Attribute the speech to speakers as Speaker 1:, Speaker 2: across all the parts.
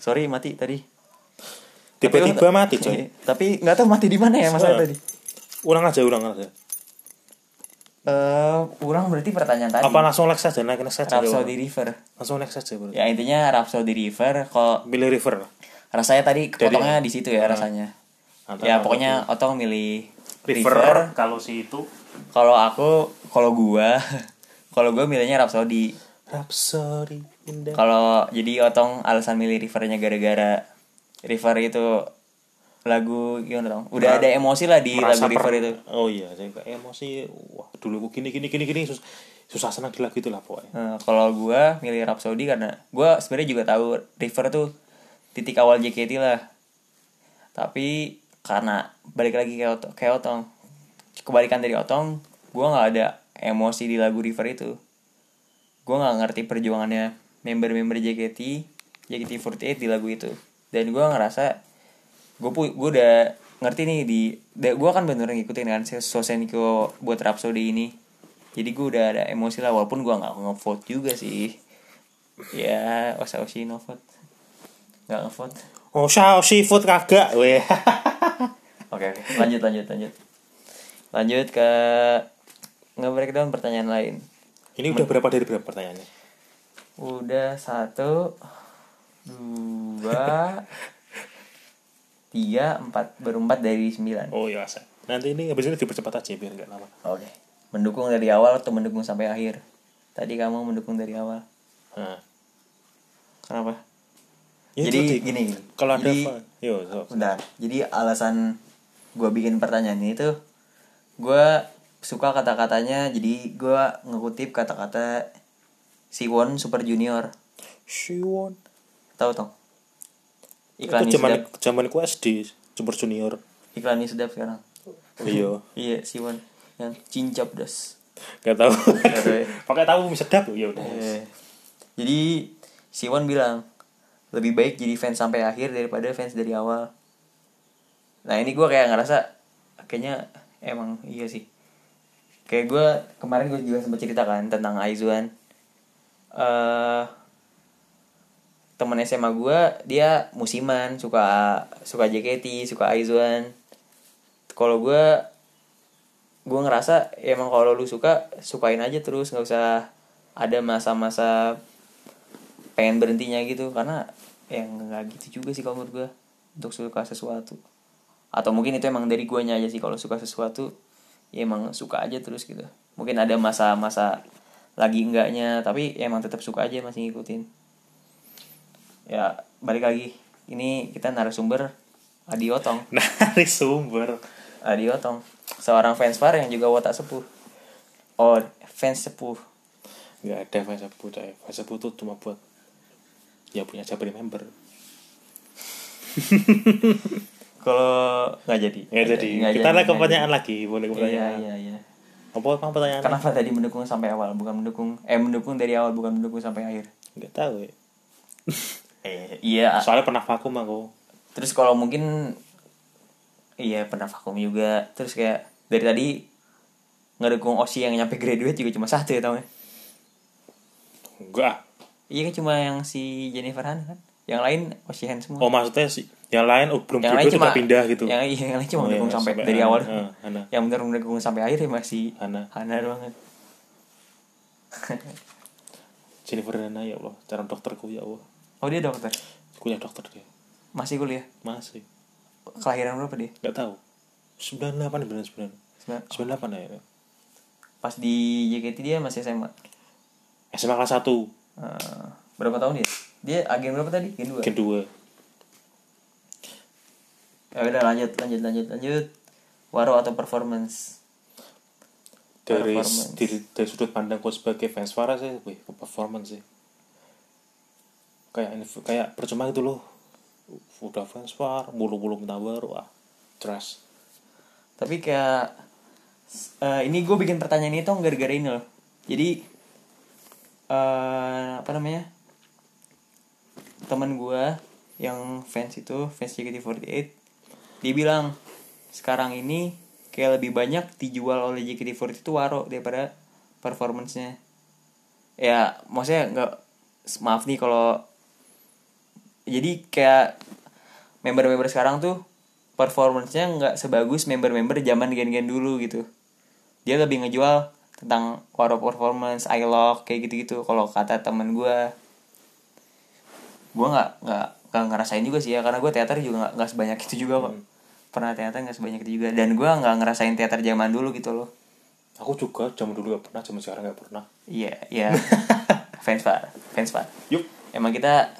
Speaker 1: sorry mati tadi
Speaker 2: Tiba-tiba mati, coy.
Speaker 1: tapi nggak tahu mati di mana ya masalah
Speaker 2: Nah.
Speaker 1: tadi
Speaker 2: Ulang aja, ulang aja.
Speaker 1: eh kurang berarti pertanyaan tadi
Speaker 2: Apa langsung next aja, naik next aja.
Speaker 1: Rhapsody
Speaker 2: ulang.
Speaker 1: River
Speaker 2: Langsung next aja, bro.
Speaker 1: ya intinya Rhapsody River kalau
Speaker 2: Milih River.
Speaker 1: rasanya tadi potongnya di situ ya rasanya
Speaker 2: uh, Antara
Speaker 1: ya pokoknya otong milih
Speaker 2: River, kalau si itu
Speaker 1: kalau aku kalau gua kalau gua milihnya Rhapsody
Speaker 2: Rhapsody in the
Speaker 1: kalau jadi otong alasan milih Rivernya gara-gara River itu lagu gimana dong udah ada emosi lah di lagu
Speaker 2: Merasa per-
Speaker 1: River itu
Speaker 2: Oh iya, saya kayak emosi. Wah, dulu aku gini gini gini gini sus- susah senang di lagu itu lah pokoknya.
Speaker 1: Eh, kalau gua milih Rhapsody karena gua sebenarnya juga tahu River tuh titik awal JKT lah tapi karena balik lagi ke Otong, ke Otong kebalikan dari Otong gua nggak ada emosi di lagu River itu gua nggak ngerti perjuangannya member-member JKT JKT48 di lagu itu dan gua ngerasa gue gue udah ngerti nih di gue kan bener ngikutin kan si- Sosenko buat Rhapsody ini jadi gue udah ada emosi lah walaupun gue nggak ngevote juga sih ya Osa Oshi no vote nggak ngevote
Speaker 2: Oh, shao seafood kagak, weh.
Speaker 1: oke oke lanjut lanjut lanjut lanjut ke nge-breakdown pertanyaan lain
Speaker 2: Ini udah berapa dari berapa pertanyaannya?
Speaker 1: udah satu dua tiga empat baru empat dari sembilan
Speaker 2: Oh iya, saya. Nanti ini habis ini dipercepat aja biar nggak lama.
Speaker 1: Oke. Mendukung dari awal atau mendukung sampai akhir? Tadi kamu mendukung dari awal.
Speaker 2: Nah.
Speaker 1: Kenapa?
Speaker 2: Ya,
Speaker 1: Jadi
Speaker 2: itu, Dik.
Speaker 1: gini, gini.
Speaker 2: kalau ada
Speaker 1: Jadi-
Speaker 2: apa? Yo, so.
Speaker 1: Bentar. Jadi alasan gua bikin pertanyaan ini tuh gua suka kata-katanya jadi gua ngekutip kata-kata Siwon Super Junior.
Speaker 2: Siwon.
Speaker 1: Tahu tong? Iklannya
Speaker 2: Itu
Speaker 1: sedap.
Speaker 2: zaman zaman ku SD, Super Junior.
Speaker 1: Iklannya sedap sekarang.
Speaker 2: Iya.
Speaker 1: Iya, Siwon yang cincap das.
Speaker 2: Gak tahu.
Speaker 1: tahu ya.
Speaker 2: Pakai tahu sedap ya udah.
Speaker 1: Eh, Jadi Siwon bilang lebih baik jadi fans sampai akhir daripada fans dari awal. Nah ini gue kayak ngerasa kayaknya emang iya sih. Kayak gue kemarin gue juga sempat ceritakan tentang Aizuan. eh temen SMA gue dia musiman suka suka JKT suka Aizuan. Kalau gue gue ngerasa emang kalau lu suka sukain aja terus nggak usah ada masa-masa pengen berhentinya gitu karena yang nggak gitu juga sih kalau menurut gue untuk suka sesuatu atau mungkin itu emang dari guanya aja sih kalau suka sesuatu ya emang suka aja terus gitu mungkin ada masa-masa lagi enggaknya tapi ya emang tetap suka aja masih ngikutin ya balik lagi ini kita narasumber Adi Otong
Speaker 2: Nah, ini sumber.
Speaker 1: Adi Otong seorang fans par yang juga watak sepuh oh fans sepuh
Speaker 2: nggak ada fase buta fase butuh cuma buat ya punya Jabri member
Speaker 1: kalau nggak jadi
Speaker 2: nggak jadi kita
Speaker 1: nggak
Speaker 2: lah ke
Speaker 1: nggak
Speaker 2: pertanyaan lagi boleh ke
Speaker 1: jadi. iya
Speaker 2: pertanyaan
Speaker 1: iya iya
Speaker 2: apa apa pertanyaan
Speaker 1: kenapa tadi mendukung sampai awal bukan mendukung eh mendukung dari awal bukan mendukung sampai akhir
Speaker 2: nggak tahu ya
Speaker 1: eh, iya
Speaker 2: soalnya pernah vakum aku
Speaker 1: terus kalau mungkin iya pernah vakum juga terus kayak dari tadi ngedukung Osi yang nyampe graduate juga cuma satu ya tau nggak?
Speaker 2: enggak
Speaker 1: iya kan cuma yang si Jennifer Han kan yang lain Osi Han semua
Speaker 2: oh maksudnya sih yang lain oh, belum
Speaker 1: yang lain
Speaker 2: tidur
Speaker 1: cuma
Speaker 2: udah pindah gitu
Speaker 1: yang, iya, yang lain cuma
Speaker 2: Oh, iya,
Speaker 1: mendukung sampai,
Speaker 2: sampai
Speaker 1: dari
Speaker 2: Hana.
Speaker 1: awal
Speaker 2: Ah, Hana.
Speaker 1: yang benar mendukung sampai akhir ya masih
Speaker 2: Hana.
Speaker 1: Hana doang kan.
Speaker 2: Jennifer Hana ya Allah cara dokterku ya Allah
Speaker 1: oh dia dokter
Speaker 2: kuliah dokter dia
Speaker 1: masih kuliah
Speaker 2: masih
Speaker 1: kelahiran berapa dia
Speaker 2: nggak tahu 98 bulan 9
Speaker 1: Sembilan-
Speaker 2: 98 ya
Speaker 1: pas di JKT dia masih SMA
Speaker 2: SMA kelas 1
Speaker 1: Eh, berapa tahun dia dia agen berapa tadi agen dua
Speaker 2: gen 2
Speaker 1: ya udah lanjut lanjut lanjut lanjut waro atau performance
Speaker 2: dari,
Speaker 1: Performance.
Speaker 2: dari dari sudut pandangku sebagai fans Farah sih, wih, ke performance sih. Kayak ini- kayak percuma gitu loh. Udah fans Farah, bulu-bulu minta baru, wah, trash.
Speaker 1: tapi kayak eh, ini gue bikin pertanyaan itu gara-gara ini loh jadi eh apa namanya teman gue yang fans itu fans JKT48 dia bilang sekarang ini kayak lebih banyak dijual oleh JKT48 itu waro daripada performance-nya ya maksudnya nggak maaf nih kalau jadi kayak member-member sekarang tuh performance-nya nggak sebagus member-member zaman gen-gen dulu gitu dia lebih ngejual tentang waro performance I love kayak gitu-gitu kalau kata temen gue gue nggak nggak nggak ngerasain juga sih ya karena gue teater juga nggak- nggak sebanyak itu juga kok pernah teater nggak sebanyak itu juga dan gue nggak ngerasain teater zaman dulu gitu loh
Speaker 2: aku juga zaman dulu gak pernah zaman sekarang gak pernah
Speaker 1: iya iya fans far fans far
Speaker 2: yup
Speaker 1: emang kita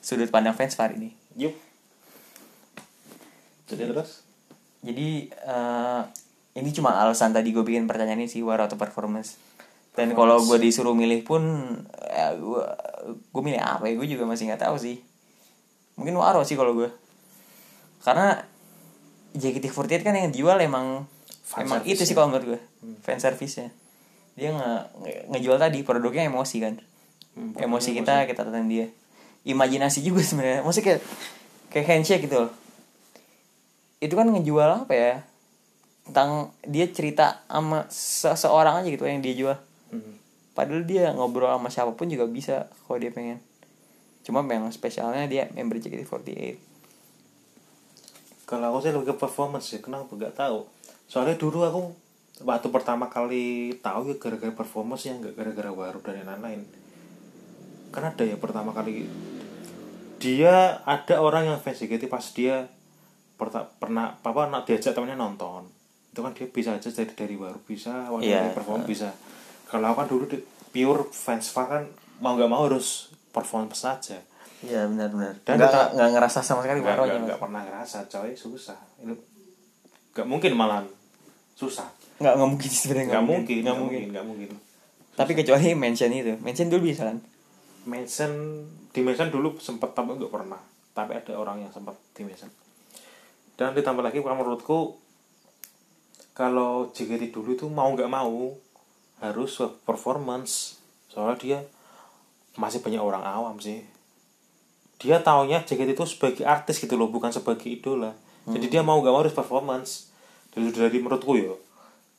Speaker 1: sudut pandang fans far ini
Speaker 2: yup jadi terus
Speaker 1: jadi eh, ini cuma alasan tadi gue bikin pertanyaan ini sih war atau performance dan kalau gue disuruh milih pun eh, gue gue milih apa ya gue juga masih nggak tahu sih mungkin waro sih kalau gue karena JKT48 kan yang jual emang
Speaker 2: Fan Hmm.
Speaker 1: emang itu sih kalau menurut gue fan service nya dia nge, nge- ngejual tadi produknya emosi kan
Speaker 2: Hmm,
Speaker 1: emosi kita kita tentang dia imajinasi juga sebenarnya maksudnya kayak kayak handshake gitu loh itu kan ngejual apa ya tentang dia cerita sama seseorang aja gitu yang dia jual
Speaker 2: Hmm.
Speaker 1: padahal dia ngobrol sama siapapun juga bisa kalau dia pengen cuma memang spesialnya dia member JKT48
Speaker 2: kalau aku sih lebih ke performance ya kenapa gak tahu soalnya dulu aku waktu pertama kali tahu ya gara-gara performance ya nggak gara-gara baru dan yang lain-lain kan ada ya pertama kali dia ada orang yang fans JKT pas dia perta- pernah papa nak diajak temannya nonton itu kan dia bisa aja dari dari baru bisa waktu
Speaker 1: Iya.
Speaker 2: dia perform bisa kalau aku kan dulu di- pure fans fan kan mau nggak mau harus performance saja
Speaker 1: Iya benar-benar.
Speaker 2: Dan
Speaker 1: Nggak
Speaker 2: tetap-
Speaker 1: nggak ngerasa sama sekali
Speaker 2: nggak
Speaker 1: barunya.
Speaker 2: nggak- nggak pernah ngerasa coy susah ini nggak mungkin malam susah
Speaker 1: Nggak nggak mungkin sih sebenarnya
Speaker 2: nggak mungkin
Speaker 1: nggak mungkin.
Speaker 2: nggak mungkin
Speaker 1: Tapi kecuali mention itu, mention dulu bisa kan?
Speaker 2: mention di mention dulu sempat tapi nggak pernah tapi ada orang yang sempat di mention dan ditambah lagi kalau menurutku kalau JKT dulu itu mau nggak mau harus performance soalnya dia masih banyak orang awam sih dia taunya JKT itu sebagai artis gitu loh bukan sebagai idola jadi dia mau nggak mau harus performance dari dari menurutku ya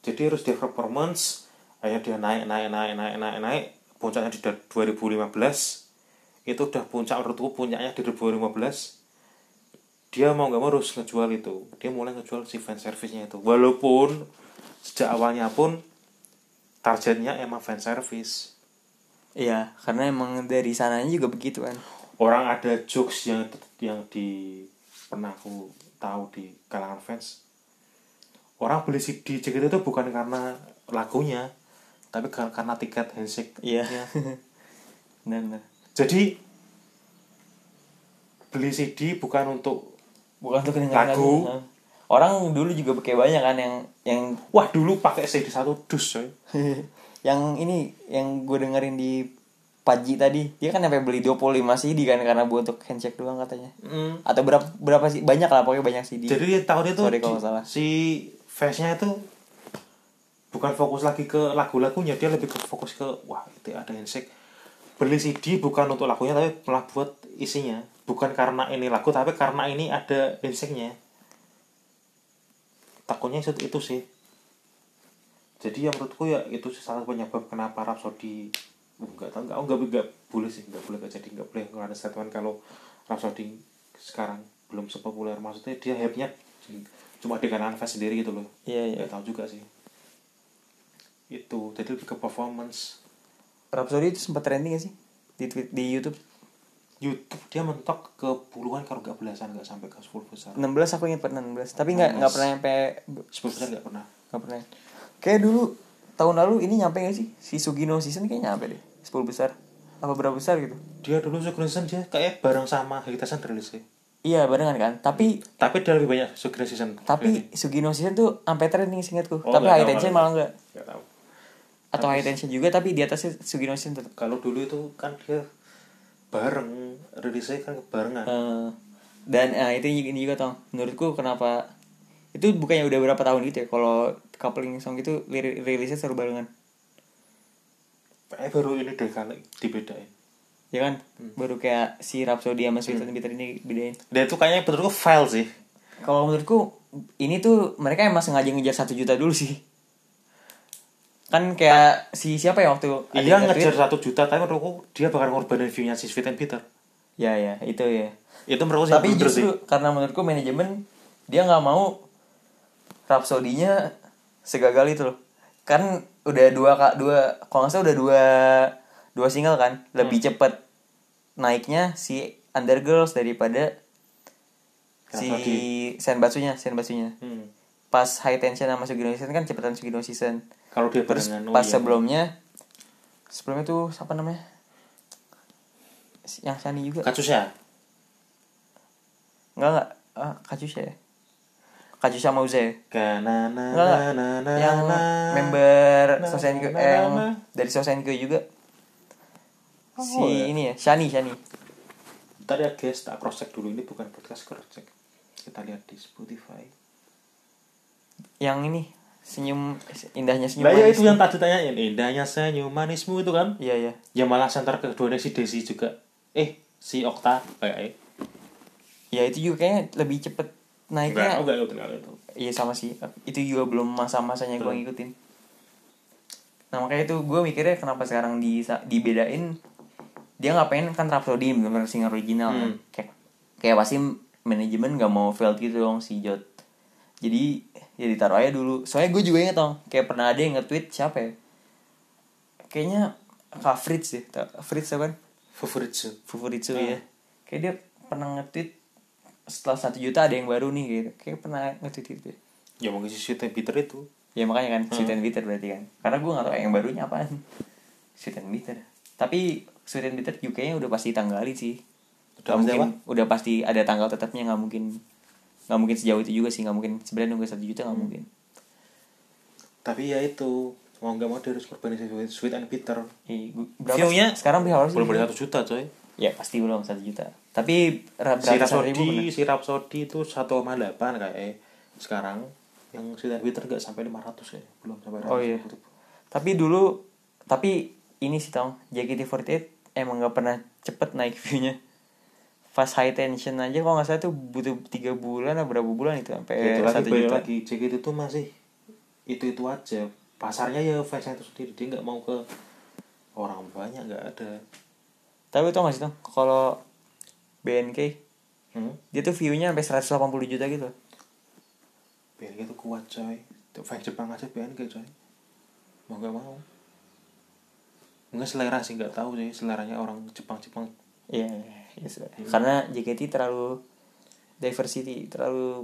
Speaker 2: jadi harus dia performance akhirnya dia naik naik naik naik naik naik puncaknya di da- 2015 itu udah puncak menurutku puncaknya di 2015 dia mau nggak mau harus ngejual itu dia mulai ngejual si fan service-nya itu walaupun sejak awalnya pun targetnya emang fan service
Speaker 1: Iya, karena emang dari sananya juga begitu kan.
Speaker 2: orang ada jokes yang yang di pernah aku tahu di kalangan fans orang beli CD JKT itu bukan karena lagunya tapi kar- karena tiket handshake
Speaker 1: Iya. Benar-benar.
Speaker 2: jadi beli CD bukan untuk
Speaker 1: Bukan tuh kedengaran
Speaker 2: Lagu.
Speaker 1: Nah, Orang dulu juga pakai banyak kan yang yang
Speaker 2: wah dulu pakai CD satu dus coy
Speaker 1: yang ini yang gue dengerin di Paji tadi dia kan sampai beli 25 CD kan karena buat untuk handshake doang katanya atau berapa berapa sih banyak lah pokoknya banyak CD
Speaker 2: jadi dia tahun itu
Speaker 1: Sorry
Speaker 2: di-
Speaker 1: kalau salah.
Speaker 2: si fansnya itu bukan fokus lagi ke lagu-lagunya dia lebih ke fokus ke wah itu ada handshake beli CD bukan untuk lagunya tapi malah buat isinya bukan karena ini lagu tapi karena ini ada handshake-nya takutnya itu, itu sih jadi yang menurutku ya itu sih salah satu penyebab kenapa Rhapsody enggak tahu enggak enggak, enggak boleh sih enggak boleh enggak jadi enggak boleh enggak ada statement kalau Rhapsody sekarang belum sepopuler maksudnya dia hype-nya cuma di kalangan fans sendiri gitu loh
Speaker 1: Iya, iya.
Speaker 2: Nggak tahu juga sih itu jadi lebih ke performance
Speaker 1: Rhapsody itu sempat trending gak sih di tweet, di YouTube
Speaker 2: YouTube dia mentok ke puluhan kalau enggak belasan enggak sampai ke 10 besar
Speaker 1: 16 aku ingat pernah 16 tapi nggak nggak pernah nyampe
Speaker 2: 10 besar enggak pernah
Speaker 1: nggak pernah kayak dulu tahun lalu ini nyampe gak sih si Sugino season kayaknya nyampe deh 10 besar apa berapa besar gitu
Speaker 2: dia dulu Sugrensen dia kayak bareng sama Hegitasan rilis sih
Speaker 1: iya barengan kan tapi
Speaker 2: tapi dia lebih banyak Sugrensen
Speaker 1: tapi Sugino season tuh sampai trending singkatku
Speaker 2: Oh,
Speaker 1: tapi
Speaker 2: nggak
Speaker 1: high
Speaker 2: tahu
Speaker 1: tension
Speaker 2: kalau-
Speaker 1: malah nggak
Speaker 2: enggak tahu
Speaker 1: atau high tension juga tapi di atasnya Sugino season tetap
Speaker 2: kalau dulu itu kan dia bareng rilisnya kan barengan
Speaker 1: Eh, dan eh, itu ini juga tong menurutku kenapa itu bukannya udah berapa tahun gitu ya kalau coupling song itu lir- rilisnya seru barengan
Speaker 2: eh baru ini deh kali dibedain
Speaker 1: ya kan baru kayak si Rhapsody sama Sweet and Bitter ini bedain
Speaker 2: dan itu kayaknya menurutku file sih
Speaker 1: kalau menurutku ini tuh mereka emang sengaja ngejar satu juta dulu sih kan kayak si siapa ya waktu ada
Speaker 2: dia
Speaker 1: yang nge-tweet?
Speaker 2: ngejar satu juta tapi menurutku dia bakal ngorbanin view-nya si Sweet and Bitter
Speaker 1: ya ya itu ya
Speaker 2: itu menurut gue sih
Speaker 1: tapi
Speaker 2: bener sih
Speaker 1: justru karena menurutku manajemen dia nggak mau rapsodinya segagal itu loh kan udah dua kak dua kalau nggak salah udah dua dua single kan lebih
Speaker 2: Hmm.
Speaker 1: cepet naiknya si Undergirls daripada
Speaker 2: Rhapsody.
Speaker 1: si Senbatsunya Senbatsunya
Speaker 2: Hmm.
Speaker 1: pas High Tension sama Sugino Season kan cepetan Sugino Season
Speaker 2: kalau dia
Speaker 1: terus
Speaker 2: barengan, oh
Speaker 1: pas
Speaker 2: iya.
Speaker 1: sebelumnya sebelumnya tuh siapa namanya Si- yang Shani juga
Speaker 2: kasusnya
Speaker 1: Enggak enggak. Ah, Kajusha ya. Kajusha sama Uze.
Speaker 2: Kana na
Speaker 1: Enggak
Speaker 2: na na na
Speaker 1: enggak. Yang
Speaker 2: na.
Speaker 1: member
Speaker 2: na,
Speaker 1: Sosenke
Speaker 2: na, na,
Speaker 1: eh, yang
Speaker 2: na.
Speaker 1: dari Sosenke juga.
Speaker 2: Oh,
Speaker 1: Si
Speaker 2: ya.
Speaker 1: ini ya, Shani Shani.
Speaker 2: Bentar ya guys, tak cross check dulu ini bukan podcast cross check. Kita lihat di Spotify.
Speaker 1: Yang ini senyum indahnya senyum.
Speaker 2: Nah, ya
Speaker 1: manis.
Speaker 2: itu yang tadi tanyain Eh, indahnya senyum manismu itu kan.
Speaker 1: Iya iya.
Speaker 2: Ya malah center keduanya si Desi juga. Eh, si Okta eh. kayaknya.
Speaker 1: Ya itu juga kayaknya lebih cepet
Speaker 2: Enggak,
Speaker 1: naiknya.
Speaker 2: enggak itu enggak itu.
Speaker 1: Iya sama sih. Itu juga belum masa-masanya gue ngikutin. Nah makanya itu gue mikirnya kenapa sekarang di dibedain dia nggak pengen kan Rhapsody bener single original kan.
Speaker 2: Hmm.
Speaker 1: kayak kayak pasti manajemen nggak mau fail gitu dong si Jot jadi ya ditaruh aja dulu soalnya gue juga inget dong kayak pernah ada yang nge-tweet siapa ya kayaknya Kak Fritz deh Ta- Fritz apa kan
Speaker 2: Favorit sih.
Speaker 1: Fufuritsu ya kayak dia pernah nge-tweet setelah satu juta ada yang baru nih gitu kayak pernah nge-tweet gitu deh.
Speaker 2: Ya mungkin si Sweet and Bitter itu.
Speaker 1: Ya makanya kan Sweet and
Speaker 2: Hmm.
Speaker 1: Bitter berarti kan. Karena gue gak tau yang barunya apaan. Sweet and Bitter. Tapi Sweet and Bitter juga kayaknya udah pasti tanggalin sih. Nggak
Speaker 2: Udah pasti
Speaker 1: mungkin, udah pasti ada tanggal tetapnya nggak mungkin nggak mungkin sejauh itu juga sih nggak mungkin sebenarnya nunggu satu juta nggak
Speaker 2: Hmm.
Speaker 1: mungkin
Speaker 2: Tapi ya itu mau nggak mau dia harus korbanin si Sweet- Sweet and Bitter.
Speaker 1: Eh, gu- berapa
Speaker 2: View-nya
Speaker 1: sih? sekarang berapa sih
Speaker 2: Belum boleh satu juta coy.
Speaker 1: ya pasti belum satu juta tapi ra-
Speaker 2: Si
Speaker 1: ratusan ribu pernah.
Speaker 2: Rhapsody, si Rhapsody itu 1,8 kayaknya eh, sekarang. Yang Sweet and Bitter nggak sampai 500 ya. Belum sampai
Speaker 1: Oh, iya.
Speaker 2: 500.
Speaker 1: tapi dulu tapi ini sih tong JKT48 emang nggak pernah cepet naik viewnya pas high tension aja kalau nggak salah tuh butuh tiga bulan atau berapa bulan itu sampai
Speaker 2: itu Gitu lagi
Speaker 1: satu
Speaker 2: balik
Speaker 1: juta
Speaker 2: lagi JKT itu masih itu itu aja pasarnya ya fansnya itu sendiri dia nggak mau ke orang banyak nggak ada
Speaker 1: tapi tau nggak sih tong kalau BNK
Speaker 2: hmm?
Speaker 1: dia tuh viewnya sampai 180 juta gitu
Speaker 2: BNK itu kuat coy Tuh, fans Jepang aja BNK coy mau nggak mau nggak selera sih nggak tahu sih seleranya orang Jepang Jepang
Speaker 1: iya iya, iya. karena JKT terlalu diversity terlalu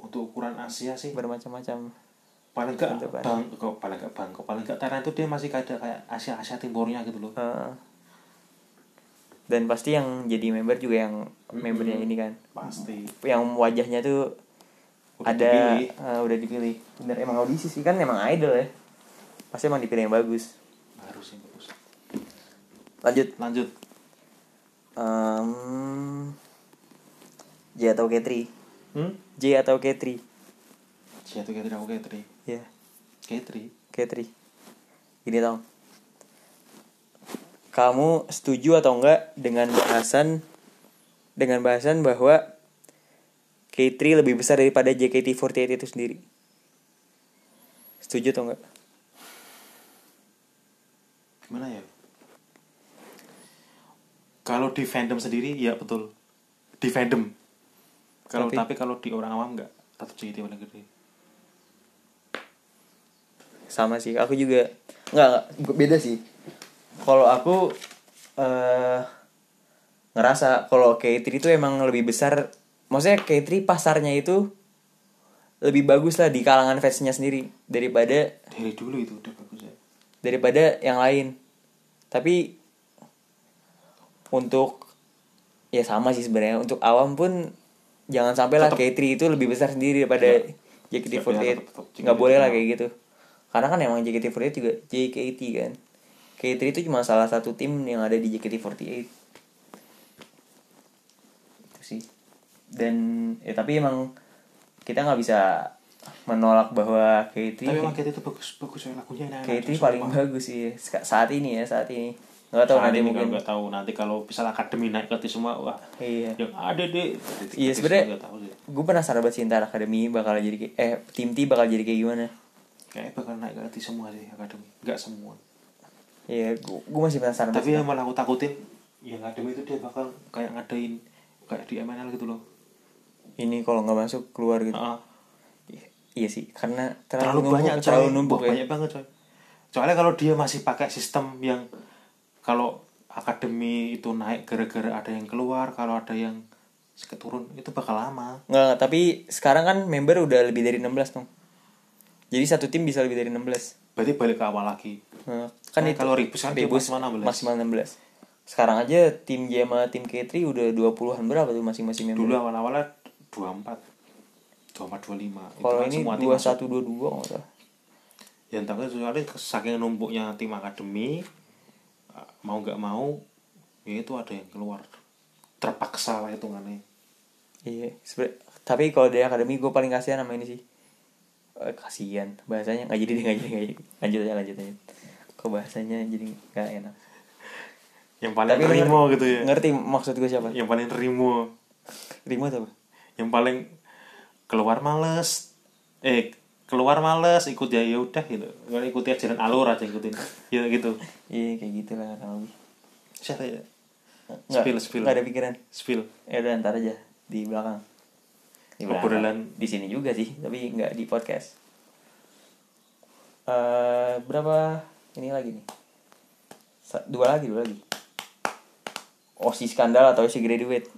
Speaker 2: untuk ukuran Asia sih
Speaker 1: bermacam-macam
Speaker 2: paling nggak
Speaker 1: Bentuk baru.
Speaker 2: bang kok paling nggak bang kok paling nggak Thailand itu dia masih ada kayak Asia Asia Timurnya gitu loh
Speaker 1: Heeh. Eh. dan pasti yang jadi member juga yang membernya ini kan
Speaker 2: pasti
Speaker 1: yang wajahnya tuh
Speaker 2: Udah
Speaker 1: ada
Speaker 2: dipilih.
Speaker 1: eh, udah dipilih bener emang audisi sih kan emang idol ya pasti emang dipilih yang bagus
Speaker 2: harus sih bagus
Speaker 1: lanjut
Speaker 2: lanjut
Speaker 1: Em, J atau K3
Speaker 2: hmm
Speaker 1: J atau K3
Speaker 2: jatuh Katri aku Katri
Speaker 1: ya
Speaker 2: Katri
Speaker 1: K3 gini tong kamu setuju atau enggak dengan bahasan dengan bahasan bahwa K3 lebih besar daripada JKT48 itu sendiri setuju atau enggak
Speaker 2: gimana ya kalau di fandom sendiri ya betul di fandom kalau
Speaker 1: Tapi-
Speaker 2: tapi, kalau di orang awam nggak tetap JKT paling gede
Speaker 1: sama sih aku juga nggak nggak, gu- beda sih kalau aku eh ngerasa kalau K3 itu emang lebih besar maksudnya K3 pasarnya itu lebih bagus lah di kalangan fansnya sendiri daripada
Speaker 2: dari dulu itu udah bagus
Speaker 1: Iya
Speaker 2: ya
Speaker 1: daripada yang lain tapi untuk ya sama sih sebenarnya untuk awam pun jangan sampai lah K3 itu lebih besar sendiri daripada
Speaker 2: Tetap,
Speaker 1: JKT48
Speaker 2: tetap, tetap.
Speaker 1: nggak boleh lah kayak gitu karena kan emang JKT48 juga JKT kan K3 itu cuma salah satu tim yang ada di JKT48 itu sih dan ya tapi emang kita nggak bisa menolak bahwa K3
Speaker 2: tapi emang JKT itu bagus bagus ya lagunya enak
Speaker 1: KT paling bagus sih sa- saat ini ya saat ini nggak tahu nanti mungkin
Speaker 2: nggak tahu nanti kalau bisa akademi naik ke semua wah
Speaker 1: iya
Speaker 2: yang ada deh
Speaker 1: Iya, sebenarnya-
Speaker 2: nggak tahu sih
Speaker 1: gue penasaran banget sih ntar akademi bakal jadi kayak- eh tim T bakal jadi kayak gimana
Speaker 2: kayaknya bakal naik ke semua sih akademi nggak semua
Speaker 1: iya gue masih penasaran
Speaker 2: tapi yang malah aku takutin ya ngadem itu dia bakal kayak ngadain kayak di MNL gitu loh
Speaker 1: ini kalau nggak masuk keluar gitu
Speaker 2: Ah,
Speaker 1: I- iya sih karena
Speaker 2: terlalu,
Speaker 1: numpuk,
Speaker 2: banyak coy.
Speaker 1: terlalu numpuk
Speaker 2: Wah,
Speaker 1: ya.
Speaker 2: banyak banget coy soalnya kalau dia masih pakai sistem yang kalau akademi itu naik gara-gara ada yang keluar kalau ada yang sedikit turun itu bakal lama
Speaker 1: Nggak, nggak, tapi sekarang kan member udah lebih dari 16 dong. Jadi satu tim bisa lebih dari 16.
Speaker 2: berarti balik ke awal lagi
Speaker 1: Nah,
Speaker 2: Nah, kalau Ribus kan dia maksimal 16.
Speaker 1: maksimal 16. Sekarang aja tim J sama tim K3 udah 20-an berapa tuh masing-masing member.
Speaker 2: dulu awal-awalnya 24 24 25
Speaker 1: Kalau
Speaker 2: itu kan
Speaker 1: ini
Speaker 2: semua tim
Speaker 1: 21 22 kalau nggak salah.
Speaker 2: yang tanggal soalnya saking numpuknya tim akademi eh, mau nggak mau ya itu ada yang keluar terpaksa lah hitungannya
Speaker 1: Iya, sebe- tapi kalau dari akademi gue paling kasihan sama ini sih. Eh, kasihan bahasanya nggak jadi deh, nggak jadi nggak jadi lanjut aja lanjut aja kok bahasanya jadi nggak enak
Speaker 2: yang paling rimo
Speaker 1: ngerti,
Speaker 2: gitu ya Iya.
Speaker 1: ngerti maksud gue siapa
Speaker 2: yang paling rimo
Speaker 1: Rimo atau apa
Speaker 2: yang paling keluar males eh keluar males ikut ya ya udah gitu Nggak ikuti ajaran alur aja ikutin ya gitu
Speaker 1: iya kayak gitu lah kurang lebih
Speaker 2: siapa ya
Speaker 1: nggak
Speaker 2: Spill, spill.
Speaker 1: nggak ada pikiran
Speaker 2: spill
Speaker 1: ya udah ntar aja di belakang di
Speaker 2: Obrolan.
Speaker 1: di sini juga sih tapi nggak di podcast eh berapa ini lagi nih Sa- dua lagi dua lagi oh si skandal atau si graduate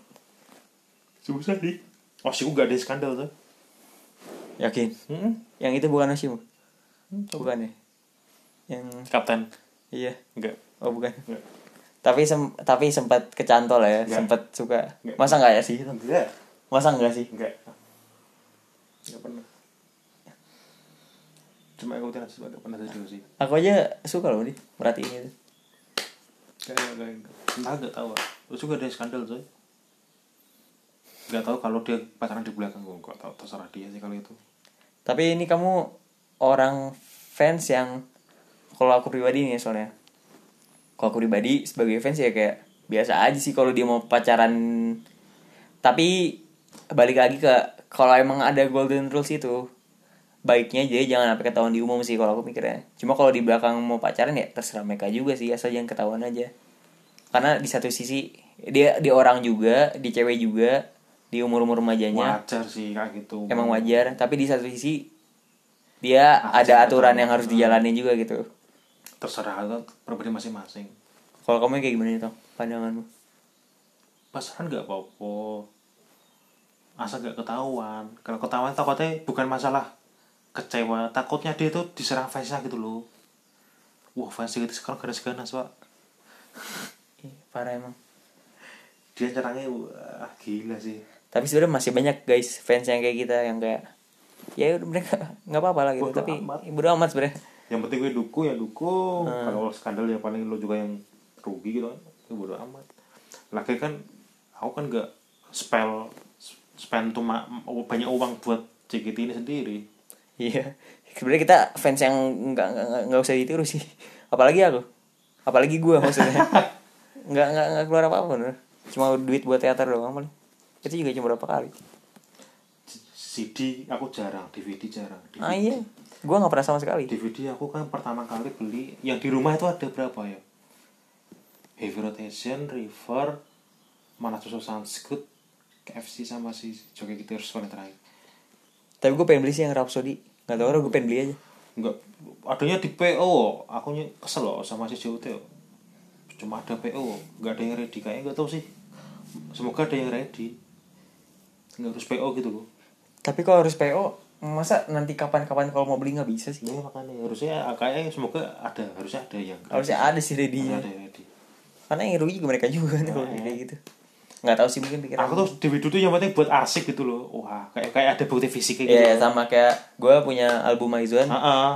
Speaker 2: susah sih oh sih gak ada skandal tuh Hmm?
Speaker 1: yakin
Speaker 2: Mm-mm.
Speaker 1: yang itu bukan Oshim
Speaker 2: Hmm,
Speaker 1: bukan ya yang
Speaker 2: kapten
Speaker 1: iya
Speaker 2: enggak
Speaker 1: oh bukan
Speaker 2: enggak
Speaker 1: tapi sem- tapi sempat kecantol ya
Speaker 2: Nggak.
Speaker 1: sempat suka
Speaker 2: Nggak.
Speaker 1: masa nggak ya sih
Speaker 2: enggak
Speaker 1: masa nggak sih
Speaker 2: enggak enggak pernah cuma ikutin aja enggak pernah serius sih
Speaker 1: aku aja suka loh gitu. nih merhatiin itu
Speaker 2: Kayak enggak enggak. Entah enggak tahu. ah. Terus juga ada skandal coy. Enggak tahu kalau dia pacaran di belakang gua enggak tahu terserah dia sih kalau itu.
Speaker 1: Tapi ini kamu orang fans yang kalau aku pribadi nih soalnya. Kalau aku pribadi sebagai fans ya kayak biasa aja sih kalau dia mau pacaran. Tapi balik lagi ke kalau emang ada golden rules itu baiknya jadi jangan sampai ketahuan di umum sih kalau aku mikirnya. Cuma kalau di belakang mau pacaran ya terserah mereka juga sih asal jangan ketahuan aja. Karena di satu sisi dia di orang juga, di cewek juga, di umur-umur remajanya
Speaker 2: Wajar sih kayak gitu.
Speaker 1: Ya. emang wajar tapi di satu sisi dia
Speaker 2: Apa sih
Speaker 1: ada aturan
Speaker 2: aturan?
Speaker 1: yang harus dijalani juga gitu
Speaker 2: terserah atau pribadi masing-masing.
Speaker 1: kalau kamu kayak gimana itu pandanganmu
Speaker 2: Pacaran enggak apa-apa. Asal enggak ketahuan. Kalau ketahuan takutnya bukan masalah kecewa, takutnya dia itu diserang fansnya gitu loh. Wah, fans gitu sekarang ganas-ganas, Pak.
Speaker 1: Ih, parah emang
Speaker 2: Dia caranya wah, gila sih.
Speaker 1: tapi sebenarnya masih banyak guys fans yang kayak kita yang kayak ya udah mereka nggak apa-apa lah gitu
Speaker 2: Bodo
Speaker 1: tapi
Speaker 2: amat.
Speaker 1: bodo amat sebenarnya
Speaker 2: yang penting gue dukung ya dukung kalau skandal ya paling lo juga yang rugi gitu kan itu bodo amat laki kan aku kan gak spell spend tuh ma- banyak uang buat JKT ini sendiri
Speaker 1: iya sebenarnya kita fans yang nggak nggak- nggak nggak usah ditiru sih apalagi aku apalagi gua maksudnya nggak nggak nggak keluar apa-apa bener cuma duit buat teater doang paling itu juga cuma berapa kali
Speaker 2: C- CD aku jarang DVD jarang DVD,
Speaker 1: ah iya gua nggak pernah sama sekali
Speaker 2: DVD aku kan pertama kali beli yang di rumah itu ada berapa ya Heavy Rotation River mana susu Sanskrit KFC sama si Joki Gitar yang terakhir
Speaker 1: Tapi gue pengen beli sih yang Rhapsody Gak tau orang gue pengen beli aja
Speaker 2: Enggak, adanya di PO. Aku ny- kesel loh sama si JOT. loh. Cuma ada PO, enggak ada yang ready kayaknya enggak tahu sih. Semoga ada yang ready. Enggak harus PO gitu loh.
Speaker 1: Tapi kalau harus PO Masa nanti kapan-kapan kalau mau beli gak bisa sih
Speaker 2: Ya makanya harusnya kayaknya semoga ada, harusnya ada yang ready.
Speaker 1: Harusnya ada sih ready
Speaker 2: ada yang ready.
Speaker 1: Karena yang rugi juga mereka juga kan kalau kayak gitu Gak tau sih mungkin pikiran
Speaker 2: Aku tuh di video tuh yang penting buat arsip gitu loh. Wah, kayak kayak ada bukti fisiknya gitu.
Speaker 1: Iya sama kayak Gue punya album Aizwan
Speaker 2: Heeh.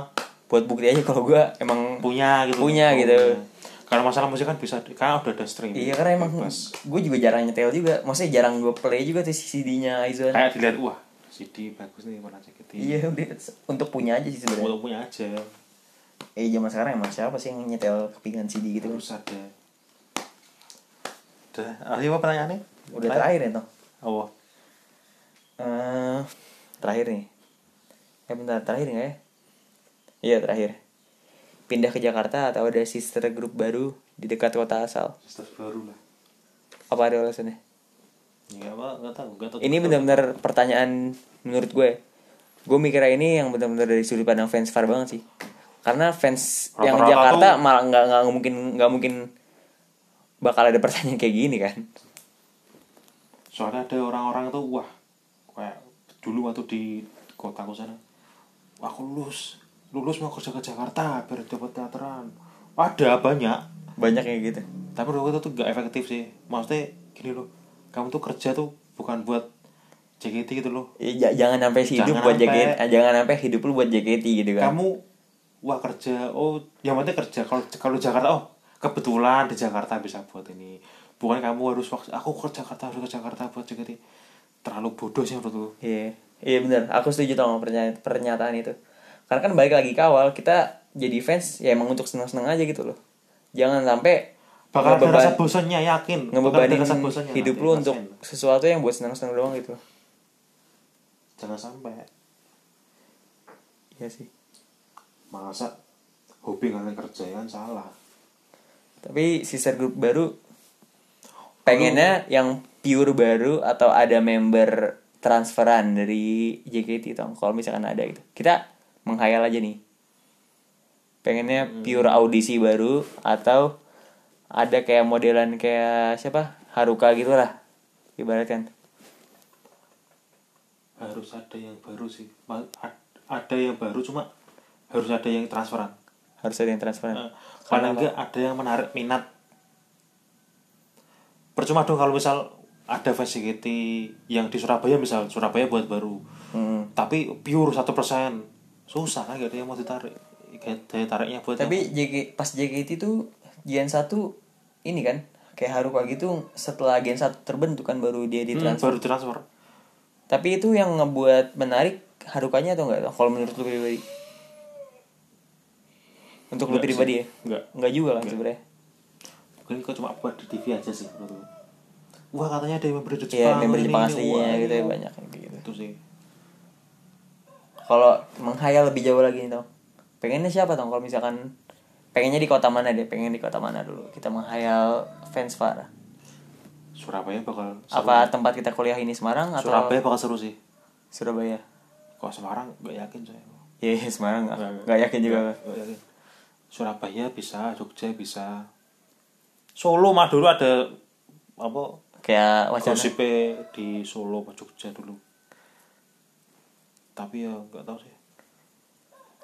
Speaker 1: Buat bukti aja kalau gue emang
Speaker 2: Punya gitu.
Speaker 1: Punya gitu.
Speaker 2: Kalau masalah musik kan bisa kan udah ada stream.
Speaker 1: Iya karena emang
Speaker 2: Bebas.
Speaker 1: Gue juga jarang nyetel juga Maksudnya jarang gue play juga tuh CD-nya Aizwan
Speaker 2: kayak dilihat wah CD bagus nih mana JKT.
Speaker 1: Iya udah Untuk punya aja sih sebenarnya
Speaker 2: Mau punya aja
Speaker 1: Eh zaman sekarang emang siapa sih yang nyetel kepingan CD gitu
Speaker 2: terus ada. Udah, akhir apa pertanyaannya?
Speaker 1: Udah terakhir ya toh
Speaker 2: Oh,
Speaker 1: eh terakhir nih. Eh bentar, terakhir nggak ya? Iya, terakhir. Pindah ke Jakarta atau ada sister group baru di dekat kota asal?
Speaker 2: sistem baru lah.
Speaker 1: apa ada alasannya
Speaker 2: Ya, apa, nggak tahu, nggak tahu.
Speaker 1: ini benar-benar pertanyaan menurut gue gue mikirnya ini yang benar-benar dari sudut pandang fans far banget sih karena fans yang
Speaker 2: Rata-rata
Speaker 1: Jakarta
Speaker 2: tuh-
Speaker 1: malah nggak nggak mungkin nggak mungkin bakal ada pertanyaan kayak gini kan
Speaker 2: soalnya ada orang-orang tuh wah kayak dulu waktu di kotaku sana "Wah, aku lulus lulus mau kerja ke Jakarta biar dapat teateran ada banyak
Speaker 1: banyak yang gitu
Speaker 2: tapi menurut gue tuh gak efektif sih maksudnya gini loh kamu tuh kerja tuh bukan buat JKT gitu loh
Speaker 1: Ya, j- jangan sampai sih hidup
Speaker 2: Jangan
Speaker 1: buat
Speaker 2: sampai-
Speaker 1: JKT eh, jangan sampai hidup lu buat JKT gitu kan
Speaker 2: kamu wah kerja oh yang penting kerja kalau kalau Jakarta oh kebetulan di Jakarta bisa buat ini bukan kamu harus waktu aku ke Jakarta harus ke Jakarta buat JKT terlalu bodoh sih menurut gue
Speaker 1: Iya, iya bener. Aku setuju tau sama pernya- pernyataan itu. Karena kan balik lagi ke awal, kita jadi fans ya emang untuk seneng-seneng aja gitu loh. Jangan sampai
Speaker 2: bakal ada
Speaker 1: ngebeban-
Speaker 2: rasa bosannya yakin bakal ada
Speaker 1: ngebebanin
Speaker 2: rasa bosannya
Speaker 1: hidup
Speaker 2: nanti,
Speaker 1: lu untuk
Speaker 2: pasti.
Speaker 1: sesuatu yang buat seneng-seneng doang gitu.
Speaker 2: jangan sampai
Speaker 1: Iya sih.
Speaker 2: masa hobi kalian kerja ya kan salah
Speaker 1: Tapi sister group baru pengennya yang pure baru atau ada member transferan dari JKT tau kalau misalkan ada gitu kita menghayal aja nih pengennya pure audisi baru atau ada kayak modelan kayak siapa Haruka gitu lah ibaratkan
Speaker 2: harus ada yang baru sih Ma- a- ada yang baru cuma harus ada yang transferan
Speaker 1: harus ada yang transferan
Speaker 2: Eh, paling enggak ada yang menarik minat percuma dong kalau misal ada facility yang di Surabaya misal Surabaya buat baru
Speaker 1: Hmm.
Speaker 2: tapi pure satu persen susah kan gak ada yang mau ditarik Gak- daya tariknya buat
Speaker 1: tapi JK, pas JKT tuh Gen 1 ini kan kayak Haruka gitu setelah Gen 1 terbentuk kan baru dia
Speaker 2: Hmm,
Speaker 1: ditransfer
Speaker 2: baru transfer
Speaker 1: Tapi itu yang ngebuat menarik harukanya atau enggak? Kalau menurut lu pribadi? Untuk lu
Speaker 2: Enggak
Speaker 1: pribadi
Speaker 2: sih.
Speaker 1: ya?
Speaker 2: Enggak.
Speaker 1: Enggak juga kan sebenarnya.
Speaker 2: mungkin kok cuma buat di TV aja sih menurut gue. wah katanya ada yang memberi Jepang
Speaker 1: Iya, member
Speaker 2: ini,
Speaker 1: Jepang
Speaker 2: ini,
Speaker 1: aslinya
Speaker 2: wah,
Speaker 1: gitu
Speaker 2: ini.
Speaker 1: ya banyak kayak gitu.
Speaker 2: itu sih
Speaker 1: Kalau menghayal lebih jauh lagi nih, Tong. Pengennya siapa, Tong? Kalau misalkan pengennya di kota mana deh? Pengen di kota mana dulu? Kita menghayal fans Far.
Speaker 2: Surabaya bakal seru.
Speaker 1: Apa tempat kita kuliah ini Semarang atau
Speaker 2: Surabaya bakal seru sih
Speaker 1: Surabaya?
Speaker 2: kalau Semarang gak yakin saya
Speaker 1: Iya, iya, Semarang enggak. Enggak yakin juga. gua.
Speaker 2: Nggak yakin Surabaya bisa Jogja bisa Solo mah dulu ada apa
Speaker 1: Kayak wacana
Speaker 2: gosipnya di Solo sama Jogja dulu tapi ya nggak tahu sih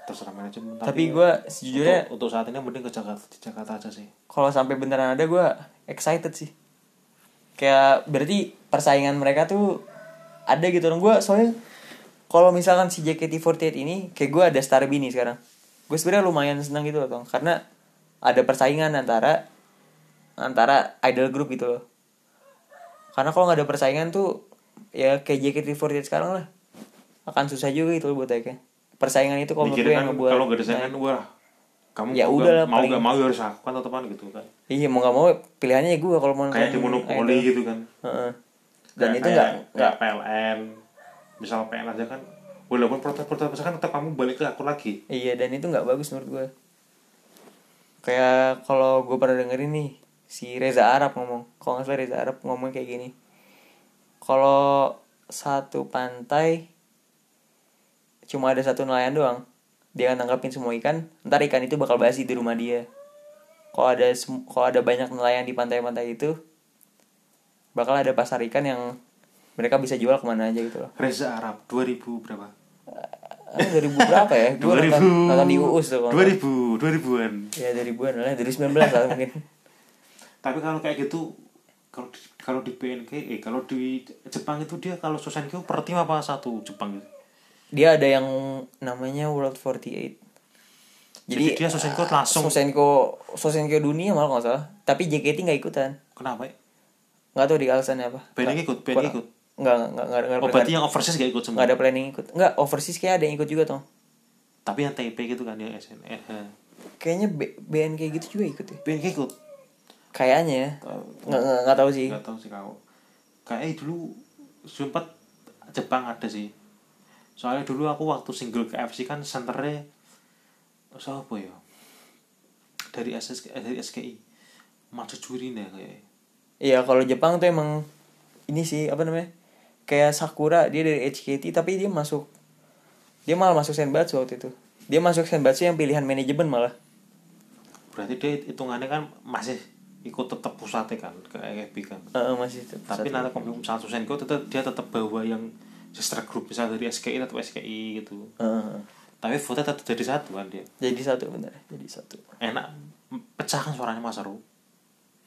Speaker 2: terserah manajemen
Speaker 1: Tapi
Speaker 2: ya,
Speaker 1: gue sejujurnya
Speaker 2: untuk, untuk saat ini mending ke Jakarta di Jakarta aja sih
Speaker 1: kalau sampai beneran ada gue excited sih kayak berarti persaingan mereka tuh ada gitu dong gue soalnya kalau misalkan si JKT48 ini kayak gue ada Starbini sekarang gue sebenarnya lumayan senang gitu loh Tong. karena ada persaingan antara antara idol group gitu loh karena kalau nggak ada persaingan tuh ya kayak JKT48 sekarang lah akan susah juga gitu loh buat Eka. persaingan itu kalau menurut gue
Speaker 2: mikirnya
Speaker 1: yang
Speaker 2: kan
Speaker 1: ngebuat
Speaker 2: kalau nggak desain kan wah kamu
Speaker 1: Ya udah
Speaker 2: mau
Speaker 1: lah,
Speaker 2: nggak- mau
Speaker 1: paling-
Speaker 2: nggak mau ya harus aku kan teman gitu kan
Speaker 1: iya mau nggak mau pilihannya ya gue kalau mau
Speaker 2: kayak di
Speaker 1: nonton
Speaker 2: monopoli
Speaker 1: idol.
Speaker 2: gitu kan
Speaker 1: Heeh. Dan
Speaker 2: Kayak-
Speaker 1: itu
Speaker 2: kayak-
Speaker 1: nggak nggak
Speaker 2: kayak PLN misal PLN aja kan walaupun protes-protes besar kan tetap kamu balik ke aku lagi
Speaker 1: iya dan itu nggak bagus menurut gue. Kayak kalau gue pernah dengerin nih si Reza Arab ngomong, kalau nggak salah Reza Arab ngomong kayak gini. Kalau satu pantai cuma ada satu nelayan doang, dia akan tangkapin semua ikan, ntar ikan itu bakal basi di rumah dia. Kalau ada sem- kalau ada banyak nelayan di pantai-pantai itu, bakal ada pasar ikan yang mereka bisa jual kemana aja gitu loh.
Speaker 2: Reza Arab 2000 berapa
Speaker 1: Ah, 2000 berapa ya? Gue nonton, nonton di UUS tuh. kalau
Speaker 2: 2000 2000-an
Speaker 1: nggak salah. Ya 2000-an lah, 2019 lah mungkin.
Speaker 2: tapi kalau kayak gitu kalau di, kalau di BNK eh kalau di Jepang itu dia kalau Susankyo per tim apa satu Jepang gitu
Speaker 1: Dia ada yang namanya World 48.
Speaker 2: jadi, dia Susankyo
Speaker 1: eh,
Speaker 2: langsung
Speaker 1: Sosenko Sosenko dunia malah kalau nggak salah. Tapi JKT nggak ikutan.
Speaker 2: kenapa ya?
Speaker 1: Nggak tahu di alasannya apa.
Speaker 2: BNK ikut BNK ikut
Speaker 1: Nggak nggak nggak nggak
Speaker 2: oh berarti yang overseas gak ikut semua
Speaker 1: nggak ada planning ikut. Nggak overseas kayak ada yang ikut juga toh.
Speaker 2: tapi yang TP gitu kan yang SNR
Speaker 1: Kayaknya B- BNK gitu juga ikut ya.
Speaker 2: BNK ikut
Speaker 1: Kayaknya ya. Nggak nggak nggak tahu sih.
Speaker 2: nggak tahu sih kau kayak dulu sempat Jepang ada sih soalnya dulu aku waktu single ke FC kan senternya siapa ya dari SS eh, dari SKI Matsujurina kayaknya
Speaker 1: Iya kalau Jepang tuh emang ini sih apa namanya kayak Sakura dia dari HKT tapi dia masuk dia malah masuk Senbatsu waktu itu dia masuk Senbatsu yang pilihan manajemen malah
Speaker 2: berarti dia hitungannya kan masih ikut tetap pusatnya kan ke AFB kan
Speaker 1: Eh, eh, masih
Speaker 2: tapi nanti komplek satu senko tetap dia tetap bawa yang sister group misalnya dari SKI atau SKI gitu
Speaker 1: Eh, eh, eh.
Speaker 2: tapi vote tetap jadi satu kan dia
Speaker 1: jadi satu bener jadi satu
Speaker 2: enak pecahkan suaranya Mas Aru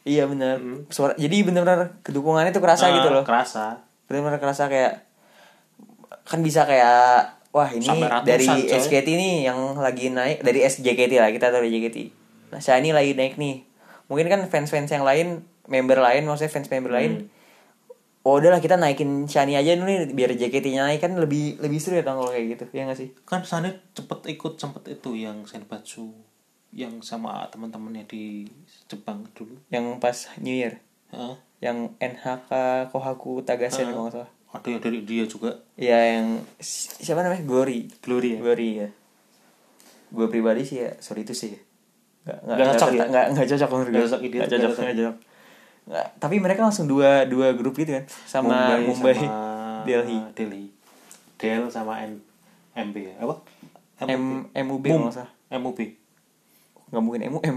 Speaker 1: iya bener suara jadi bener-bener kedukungannya tuh kerasa
Speaker 2: Eh,
Speaker 1: gitu loh
Speaker 2: kerasa
Speaker 1: bener-bener kerasa kayak kan bisa kayak wah ini
Speaker 2: Sampai ratusan,
Speaker 1: dari
Speaker 2: coy.
Speaker 1: SKT nih yang lagi naik dari SJKT lah kita tahu dari JKT nah Shiny lagi naik nih mungkin kan fans-fans yang lain member lain maksudnya fans member lain
Speaker 2: Hmm.
Speaker 1: oh udahlah kita naikin Shiny aja dulu nih biar JKT-nya naik kan lebih lebih seru ya Kang, kalau kayak gitu ya nggak sih
Speaker 2: kan sana cepet ikut sempet itu yang senbatsu yang sama teman-temannya di Jepang dulu
Speaker 1: yang pas New Year
Speaker 2: Heeh.
Speaker 1: yang NHK Kohaku
Speaker 2: Hmm.
Speaker 1: Tagasen kalau nggak salah
Speaker 2: ada yang dari dia juga
Speaker 1: ya yang si- siapa namanya Glory
Speaker 2: Glory ya
Speaker 1: Glory ya gue pribadi sih ya sorry itu sih nggak nggak
Speaker 2: Nggak
Speaker 1: nggak
Speaker 2: cocok
Speaker 1: cocok
Speaker 2: ya?
Speaker 1: nggak nggak cocok menurut
Speaker 2: Nggak
Speaker 1: gue.
Speaker 2: cocok, idiot,
Speaker 1: Nggak cocok
Speaker 2: nggak cocok.
Speaker 1: nggak cocok. Nggak, tapi mereka langsung dua dua grup gitu kan sama Mumbai,
Speaker 2: sama
Speaker 1: Delhi
Speaker 2: Delhi Del sama M MB ya apa
Speaker 1: M MUB
Speaker 2: MUB
Speaker 1: masa
Speaker 2: MUB
Speaker 1: nggak mungkin MUM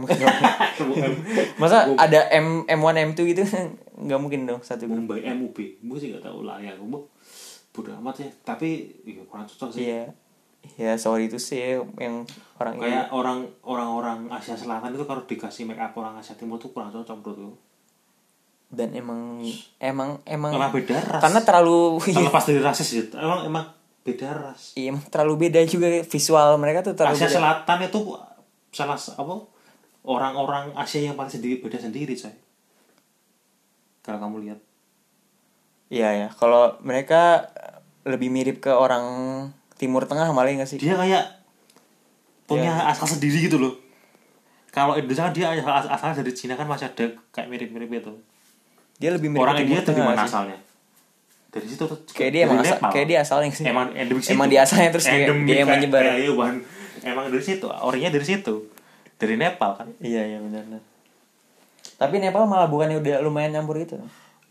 Speaker 1: masa ada M M1 M2 gitu nggak mungkin dong satu grup
Speaker 2: Mumbai MUB gue sih gak tau lah ya gue bodo amat ya tapi ya, kurang cocok sih
Speaker 1: iya ya sorry itu sih yang orang ini
Speaker 2: kayak orang orang-orang Asia Selatan itu kalau dikasih make up orang Asia Timur tuh kurang cocok menurut gue
Speaker 1: dan emang emang emang
Speaker 2: karena beda ras
Speaker 1: karena terlalu
Speaker 2: terlepas dari rasis ya emang emang beda ras
Speaker 1: Iya, emang terlalu beda juga visual mereka tuh terlalu
Speaker 2: Asia
Speaker 1: beda.
Speaker 2: Selatan itu salah s- apa orang-orang Asia yang paling sendiri beda sendiri coy kalau kamu lihat
Speaker 1: Iya ya, kalau mereka eh, lebih mirip ke orang Timur Tengah malah nggak sih?
Speaker 2: dia kayak punya
Speaker 1: Iya.
Speaker 2: asal sendiri gitu loh kalau Indonesia kan dia asal, asal dari Cina kan masih ada kayak mirip-mirip itu
Speaker 1: Dia lebih mirip
Speaker 2: orang
Speaker 1: ke Timur
Speaker 2: India tuh
Speaker 1: Tengah
Speaker 2: gimana
Speaker 1: nggak sih?
Speaker 2: asalnya dari situ tuh
Speaker 1: Kayak dia
Speaker 2: dari
Speaker 1: emang asal,
Speaker 2: Nepal.
Speaker 1: kayak dia asalnya sih.
Speaker 2: emang endemik situ.
Speaker 1: Emang dia asalnya terus dia-
Speaker 2: Endemik
Speaker 1: dia yang
Speaker 2: kayak-
Speaker 1: menyebar.
Speaker 2: kayak hewan. emang dari situ orangnya dari situ dari Nepal kan
Speaker 1: Iya iya benar. benar. Tapi Nepal malah bukannya udah lumayan nyampur gitu,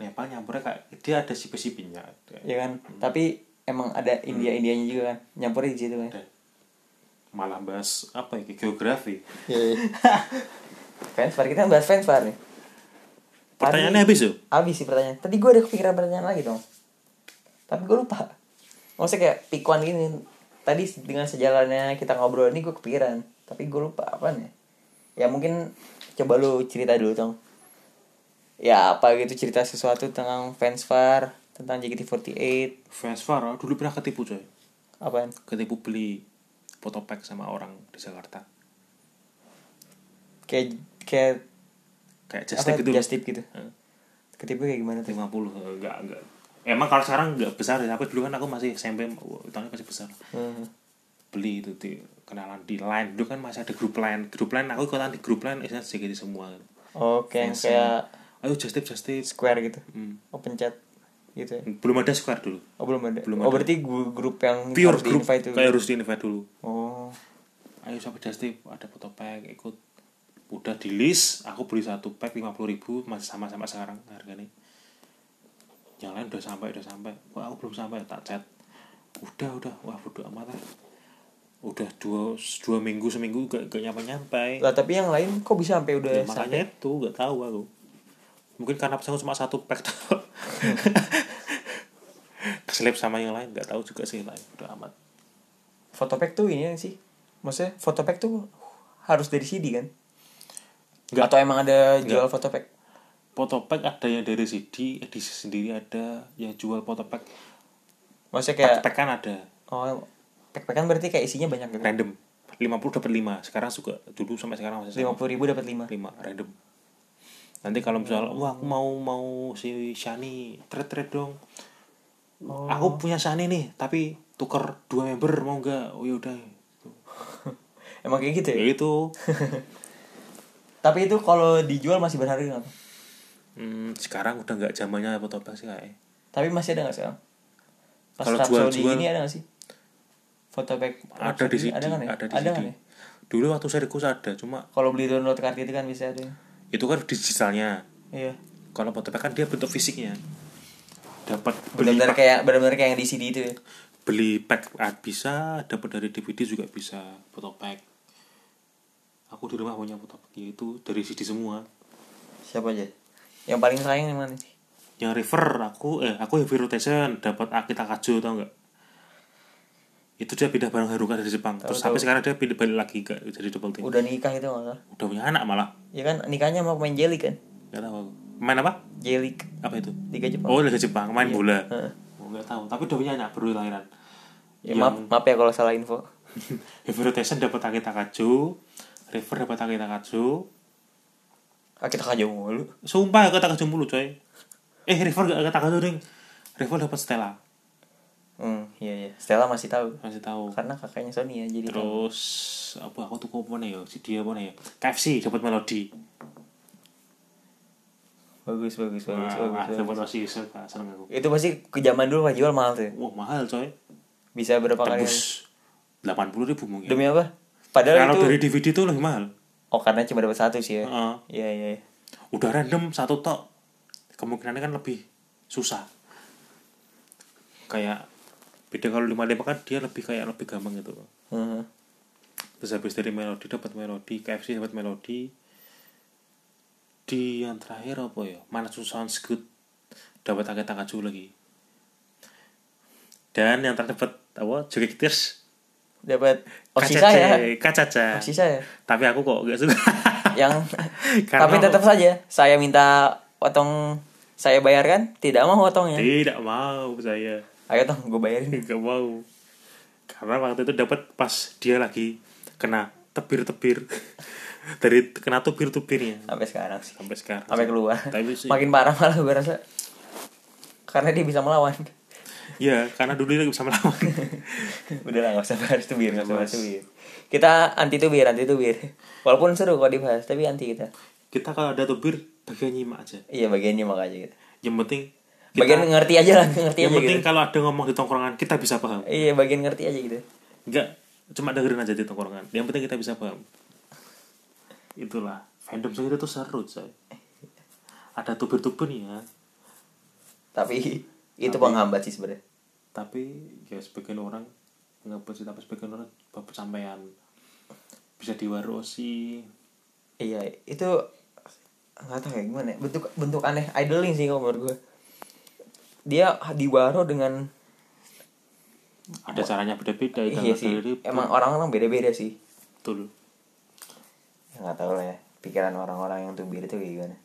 Speaker 2: Nepal nyampurnya kayak dia ada sipi-sipinya
Speaker 1: ya kan? Tapi emang ada India Indianya juga kan, nyampur di situ kan.
Speaker 2: Ada. malah bahas apa ya geografi
Speaker 1: Iya. iya. fans far kita bahas fans far nih.
Speaker 2: pertanyaannya habis tuh
Speaker 1: Habis sih pertanyaan. Tadi gue ada kepikiran pertanyaan lagi dong. Tapi gue lupa. Maksudnya kayak pikuan gini. Tadi dengan sejalannya kita ngobrol ini gue kepikiran. Tapi gue lupa apa nih. Ya mungkin coba lu cerita dulu dong. Ya apa gitu cerita sesuatu tentang fans far. Tentang JKT48.
Speaker 2: fans Farah dulu pernah ketipu coy
Speaker 1: Apaan?
Speaker 2: ketipu beli foto pack sama orang di Jakarta
Speaker 1: Kayak... kayak
Speaker 2: kayak
Speaker 1: apa,
Speaker 2: just tip itu
Speaker 1: just tip gitu.
Speaker 2: Heeh.
Speaker 1: Ketipu kayak gimana tuh?
Speaker 2: 50 eh, enggak enggak emang kalau sekarang enggak besar ya tapi dulu kan aku masih SMP tahunnya masih besar
Speaker 1: Hmm.
Speaker 2: beli itu di kenalan di line dulu kan masih ada grup line grup line aku ikutan di grup line isinya JKT semua
Speaker 1: Oke, yang Oh, kayak
Speaker 2: ayo just tip just tip
Speaker 1: square gitu.
Speaker 2: Hmm.
Speaker 1: Oh pencet gitu ya.
Speaker 2: belum ada square dulu
Speaker 1: Oh belum ada.
Speaker 2: Belum
Speaker 1: oh
Speaker 2: ada.
Speaker 1: berarti gu- grup yang
Speaker 2: pure
Speaker 1: harus
Speaker 2: grup
Speaker 1: di-invite itu.
Speaker 2: kayak harus di invite dulu
Speaker 1: Oh.
Speaker 2: ayo sampai just tip ada foto pack ikut udah di list aku beli satu pack lima puluh ribu masih sama sama sekarang harganya yang lain udah sampai udah sampai wah aku belum sampai tak chat udah udah wah bodo amat lah udah dua dua minggu seminggu gak, gak nyampe nyampe
Speaker 1: Lah tapi yang lain kok bisa sampai udah
Speaker 2: Ya,
Speaker 1: sampai
Speaker 2: makanya itu gak tahu aku mungkin karena pesan aku cuma satu pack
Speaker 1: Hmm.
Speaker 2: doang. keselip sama yang lain gak tahu juga sih lain udah amat
Speaker 1: fotopack tuh ini yang sih. Maksudnya fotopack tuh harus dari CD kan?
Speaker 2: Nggak.
Speaker 1: Atau emang ada jual fotopack?
Speaker 2: Potopack ada yang dari CD, edisi sendiri ada yang jual Potopack.
Speaker 1: Maksudnya kayak
Speaker 2: Pack kan ada
Speaker 1: oh pack kan berarti kayak isinya banyak gitu.
Speaker 2: random. 50 dapat 5. Sekarang juga dulu sampai sekarang masih
Speaker 1: Lima
Speaker 2: sama.
Speaker 1: puluh ribu dapat lima.
Speaker 2: 5 random. Nanti kalau misalnya wah aku mau mau si Shani trade trade dong.
Speaker 1: Oh.
Speaker 2: Aku punya Shani nih, tapi tuker dua member mau nggak? Oh ya udah.
Speaker 1: Emang kayak gitu ya?
Speaker 2: Ya itu.
Speaker 1: Tapi itu kalau dijual masih berharga kan? nggak? Bang?
Speaker 2: Hmm, sekarang udah nggak zamannya Potopack sih kayaknya.
Speaker 1: Tapi masih ada nggak sekarang? Pas
Speaker 2: Kalau
Speaker 1: Rhapsody
Speaker 2: jual-jual-
Speaker 1: ini ada nggak sih? Fotopack
Speaker 2: Ada di
Speaker 1: Rhapsody
Speaker 2: CD, ada,
Speaker 1: Ada kan ya?
Speaker 2: di
Speaker 1: ada
Speaker 2: CD.
Speaker 1: kan ya?
Speaker 2: Dulu waktu serikus ada, cuma
Speaker 1: gitu Kalau beli download kartu itu kan bisa ada.
Speaker 2: itu kan digitalnya.
Speaker 1: ya. Iya.
Speaker 2: kalau Motopack kan dia bentuk fisiknya dapat beli
Speaker 1: benar-benar
Speaker 2: pack-
Speaker 1: kayak benar-benar kayak yang di CD itu ya
Speaker 2: beli pack art bisa dapat dari DVD juga bisa Motopack aku di rumah punya Motopack yaitu dari CD semua
Speaker 1: siapa aja yang paling sayang yang mana sih
Speaker 2: yang River aku eh aku Heavy Rotation dapat Akita Kajo tau nggak itu dia pindah bareng Haruka dari Jepang terus sampai
Speaker 1: tahu.
Speaker 2: sekarang dia pindah balik lagi nggak jadi double team udah.
Speaker 1: udah nikah itu malah
Speaker 2: punya anak malah
Speaker 1: ya kan nikahnya sama pemain Jelik kan
Speaker 2: nggak tahu aku. main apa
Speaker 1: Jelik
Speaker 2: apa itu
Speaker 1: Liga Jepang
Speaker 2: oh Liga Jepang main bola
Speaker 1: Heeh.
Speaker 2: oh, nggak tahu tapi udah punya anak baru lahiran
Speaker 1: ya, maaf maaf ya kalau salah info
Speaker 2: Heavy Rotation dapat Akita Kajo River dapat Akita Kajo
Speaker 1: ah kita kajau mulu
Speaker 2: sumpah Akita Kajo mulu coy eh River nggak Akita Kajo ring River dapat Stella
Speaker 1: hmm iya iya Stella masih tahu
Speaker 2: masih tahu
Speaker 1: karena kakaknya Sony ya jadi tahu.
Speaker 2: terus apa aku tuh mana ya si dia mana ya KFC dapat melodi
Speaker 1: bagus bagus bagus
Speaker 2: Wah,
Speaker 1: bagus,
Speaker 2: dapat
Speaker 1: bagus.
Speaker 2: osis Pak. seneng aku
Speaker 1: itu pasti ke zaman dulu jual mahal tuh ya.
Speaker 2: wah mahal coy
Speaker 1: bisa berapa kali
Speaker 2: tembus delapan puluh ribu mungkin
Speaker 1: demi apa padahal itu
Speaker 2: kalau dari DVD tuh lebih mahal
Speaker 1: oh karena cuma dapat satu sih ya
Speaker 2: Heeh.
Speaker 1: iya iya iya.
Speaker 2: udah random satu tok kemungkinannya kan lebih susah kayak beda kalau lima lima kan dia lebih kayak lebih gampang gitu
Speaker 1: Heeh.
Speaker 2: terus habis dari melodi dapat melodi KFC dapat melodi di yang terakhir apa ya Manatsu Sounds Good dapat Ake Takaju lagi dan yang terdapat apa Joget Tears
Speaker 1: dapat Osisa ya
Speaker 2: Kacaca
Speaker 1: Osisa ya
Speaker 2: tapi aku kok gak suka
Speaker 1: yang
Speaker 2: Karena-
Speaker 1: tapi tetap saja saya minta potong saya bayarkan tidak mau potongnya
Speaker 2: tidak mau saya
Speaker 1: ayo tong gue bayarin
Speaker 2: nggak mau karena waktu itu dapat pas dia lagi kena tebir-tebir dari kena tubir-tubirnya
Speaker 1: sampai sekarang sih
Speaker 2: sampai sekarang
Speaker 1: sampai keluar
Speaker 2: Tapi sih-
Speaker 1: makin parah malah gue rasa karena dia bisa melawan
Speaker 2: ya karena dulu dia bisa melawan
Speaker 1: udah lah nggak usah bahas tubir nggak usah bahas tubir kita anti tubir anti tubir walaupun seru kalau dibahas tapi anti kita
Speaker 2: kita kalau ada tubir bagian nyimak aja
Speaker 1: iya bagiannya makanya gitu
Speaker 2: yang penting kita-
Speaker 1: bagian ngerti aja lah ngerti
Speaker 2: yang
Speaker 1: aja
Speaker 2: penting
Speaker 1: gitu
Speaker 2: kalau ada ngomong di tongkrongan kita bisa paham
Speaker 1: iya bagian ngerti aja gitu
Speaker 2: enggak cuma dengerin aja di tongkrongan yang penting kita bisa paham itulah fandom segitu tuh seru coy ada tubir-tubir ya
Speaker 1: tapi itu penghambat sih sebenarnya
Speaker 2: tapi ya sebagian orang nggak sih tapi sebagian orang bapak sampean bisa diwarosi
Speaker 1: Iya, itu nggak tahu ya gimana. ya. Bentuk bentuk aneh idling sih kalau menurut gue. Dia diwaro dengan
Speaker 2: ada caranya beda-beda itu
Speaker 1: iya sih. Emang orang-orang beda-beda sih.
Speaker 2: betul
Speaker 1: Ya nggak tahu lah ya. Pikiran orang-orang yang tubir itu kayak gimana.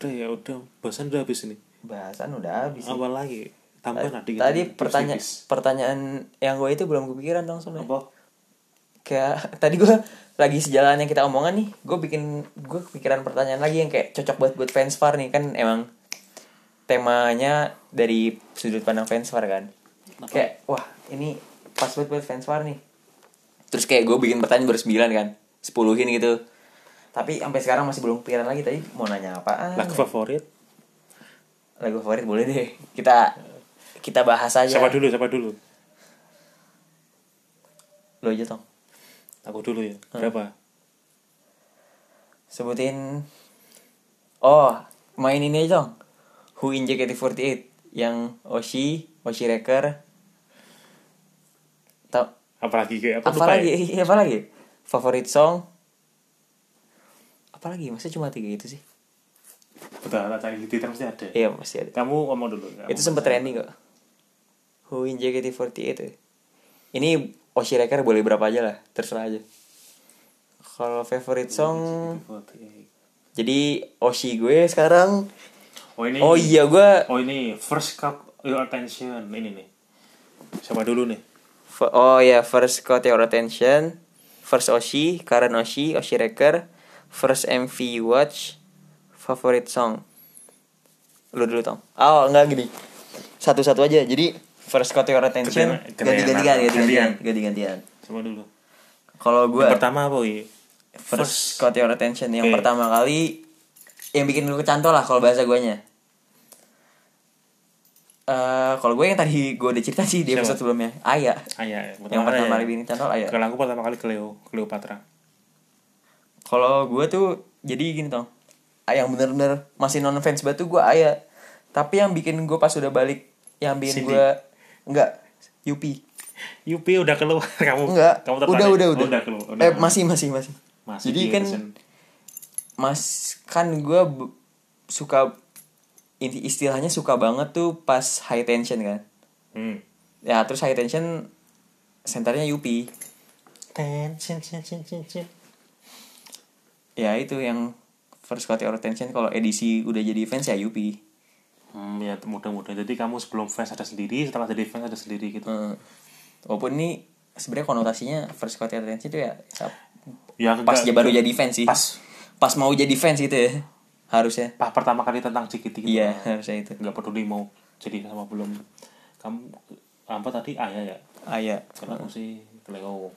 Speaker 2: udah ya udah bahasan udah habis ini
Speaker 1: Bahasan udah habis. Iya sih. Eh,
Speaker 2: awal lagi tambah nanti kita
Speaker 1: Tadi
Speaker 2: tips
Speaker 1: pertanyaan
Speaker 2: tipis.
Speaker 1: pertanyaan yang gue itu belum kepikiran dong sebenarnya.
Speaker 2: apa
Speaker 1: Kayak tadi gue lagi sejalan yang kita omongan nih, gue bikin gue kepikiran pertanyaan lagi yang kayak cocok buat buat fans far nih kan emang temanya dari sudut pandang fans far kan.
Speaker 2: Apa?
Speaker 1: Kayak wah ini pas buat buat fans far nih. Terus kayak gue bikin pertanyaan baru 9 kan, 10-in gitu. Tapi sampai sekarang masih belum kepikiran lagi tadi mau nanya apaan.
Speaker 2: lagu favorit
Speaker 1: Lagu favorit boleh deh. Kita kita bahas aja.
Speaker 2: siapa dulu siapa dulu
Speaker 1: Lo aja tong.
Speaker 2: aku dulu ya
Speaker 1: Hmm.
Speaker 2: berapa
Speaker 1: sebutin oh main ini aja dong Who in JKT48 yang Oshi Oshi Reker Ta-
Speaker 2: apalagi kayak apa,
Speaker 1: apa
Speaker 2: lupa ya?
Speaker 1: lagi Iya, apa lagi favorit song apa lagi masa cuma tiga itu sih
Speaker 2: betul tak cari di Twitter pasti ada
Speaker 1: iya masih ada
Speaker 2: kamu ngomong dulu kamu
Speaker 1: itu sempat
Speaker 2: bahas.
Speaker 1: trending kok Who in JKT48 ya. ini Oshi Reker boleh berapa aja lah terserah aja kalau favorite song
Speaker 2: iya.
Speaker 1: jadi Oshi gue sekarang
Speaker 2: oh ini
Speaker 1: oh iya gue
Speaker 2: Oh ini first cup your attention ini nih. Siapa dulu nih?
Speaker 1: F- oh ya, first got your attention, first Oshi, current Oshi, Oshi Reker, first MV you watch, favorite song. Lu dulu Tom. Oh, enggak gini. Satu-satu aja. Jadi first got your attention
Speaker 2: Gantian-
Speaker 1: ganti-gantian
Speaker 2: gantian.
Speaker 1: ganti-gantian ganti-gantian.
Speaker 2: Siapa dulu?
Speaker 1: Kalau
Speaker 2: Yang
Speaker 1: gua
Speaker 2: pertama apa Wi?
Speaker 1: first got your attention yang
Speaker 2: Oke.
Speaker 1: pertama kali yang bikin gue kecantol lah kalau bahasa guanya. Eh kalau gue yang tadi gue udah cerita sih di
Speaker 2: Siapa?
Speaker 1: episode sebelumnya Aya
Speaker 2: Ah, ya,
Speaker 1: yang pertama
Speaker 2: ya.
Speaker 1: kali bikin kecantol Aya
Speaker 2: Kalau aku pertama kali Cleo, Cleopatra.
Speaker 1: Kalau gue tuh jadi gini tong yang bener-bener masih non fans batu gue ayah tapi yang bikin gue pas udah balik yang bikin
Speaker 2: Cindy.
Speaker 1: gue enggak Yupi
Speaker 2: Yupi udah keluar kamu.
Speaker 1: enggak
Speaker 2: Oh, Kamu tertarik?
Speaker 1: udah udah
Speaker 2: Oh,
Speaker 1: udah,
Speaker 2: udah keluar. Udah.
Speaker 1: eh masih masih masih,
Speaker 2: Masih
Speaker 1: jadi
Speaker 2: di
Speaker 1: kan
Speaker 2: Edison.
Speaker 1: mas kan gue b- suka inti istilahnya suka banget tuh pas high tension kan
Speaker 2: Hmm.
Speaker 1: ya terus high tension senternya Yupi
Speaker 2: Ten, cin, cin, cin, cin, cin.
Speaker 1: ya itu yang first quality or tension kalau edisi udah jadi fans ya Yupi
Speaker 2: Hmm, ya mudah-mudahan. Jadi kamu sebelum fans ada sendiri, setelah jadi fans ada sendiri gitu.
Speaker 1: Eh, walaupun ini sebenarnya konotasinya first quality or tension itu ya sa-
Speaker 2: Ya
Speaker 1: pas
Speaker 2: enggak-
Speaker 1: dia baru jadi fans sih
Speaker 2: pas
Speaker 1: pas mau jadi fans gitu ya harusnya
Speaker 2: pas pertama kali tentang JKT gitu.
Speaker 1: iya harusnya itu
Speaker 2: Enggak peduli mau jadi sama belum. Kamu apa tadi ayah ya?
Speaker 1: Ayah
Speaker 2: Kenapa sih Leo?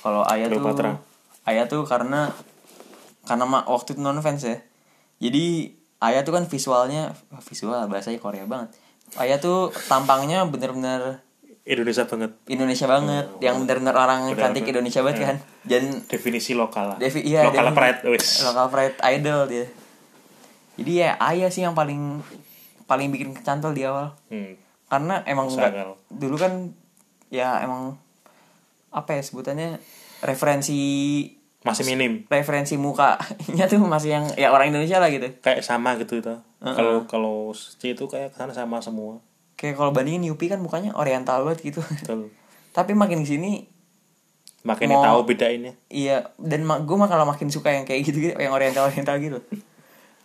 Speaker 1: kalau Ayah tuh
Speaker 2: Cleopatra.
Speaker 1: Ayah tuh karena karena ma- waktu itu non fans ya jadi Ayah tuh kan visualnya visual bahasanya Korea banget Ayah tuh tampangnya bener-bener
Speaker 2: Indonesia banget.
Speaker 1: Indonesia banget yang bener-bener orang
Speaker 2: Hmm. Bener-bener. Hmm.
Speaker 1: cantik Indonesia banget kan dan
Speaker 2: Definisi lokal lah.
Speaker 1: Devi iya
Speaker 2: lokal
Speaker 1: Devi-
Speaker 2: pride wis.
Speaker 1: Lokal pride idol dia. Jadi ya Aya sih yang paling paling bikin kecantol di awal.
Speaker 2: Hmm.
Speaker 1: Karena emang
Speaker 2: Sangat.
Speaker 1: nggak- dulu kan ya emang apa ya sebutannya referensi
Speaker 2: Masih minim.
Speaker 1: referensi mukanya tuh masih yang ya orang Indonesia lah gitu.
Speaker 2: kayak sama gitu itu kalau kalau C itu kayak kesana sama semua
Speaker 1: Kayak kalau bandingin Yupi kan mukanya oriental banget gitu.
Speaker 2: betul
Speaker 1: Tapi makin kesini
Speaker 2: makanya
Speaker 1: Mau-
Speaker 2: tahu bedainnya
Speaker 1: Iya, dan mak gue malah makin suka yang kayak gitu, gitu yang oriental oriental gitu.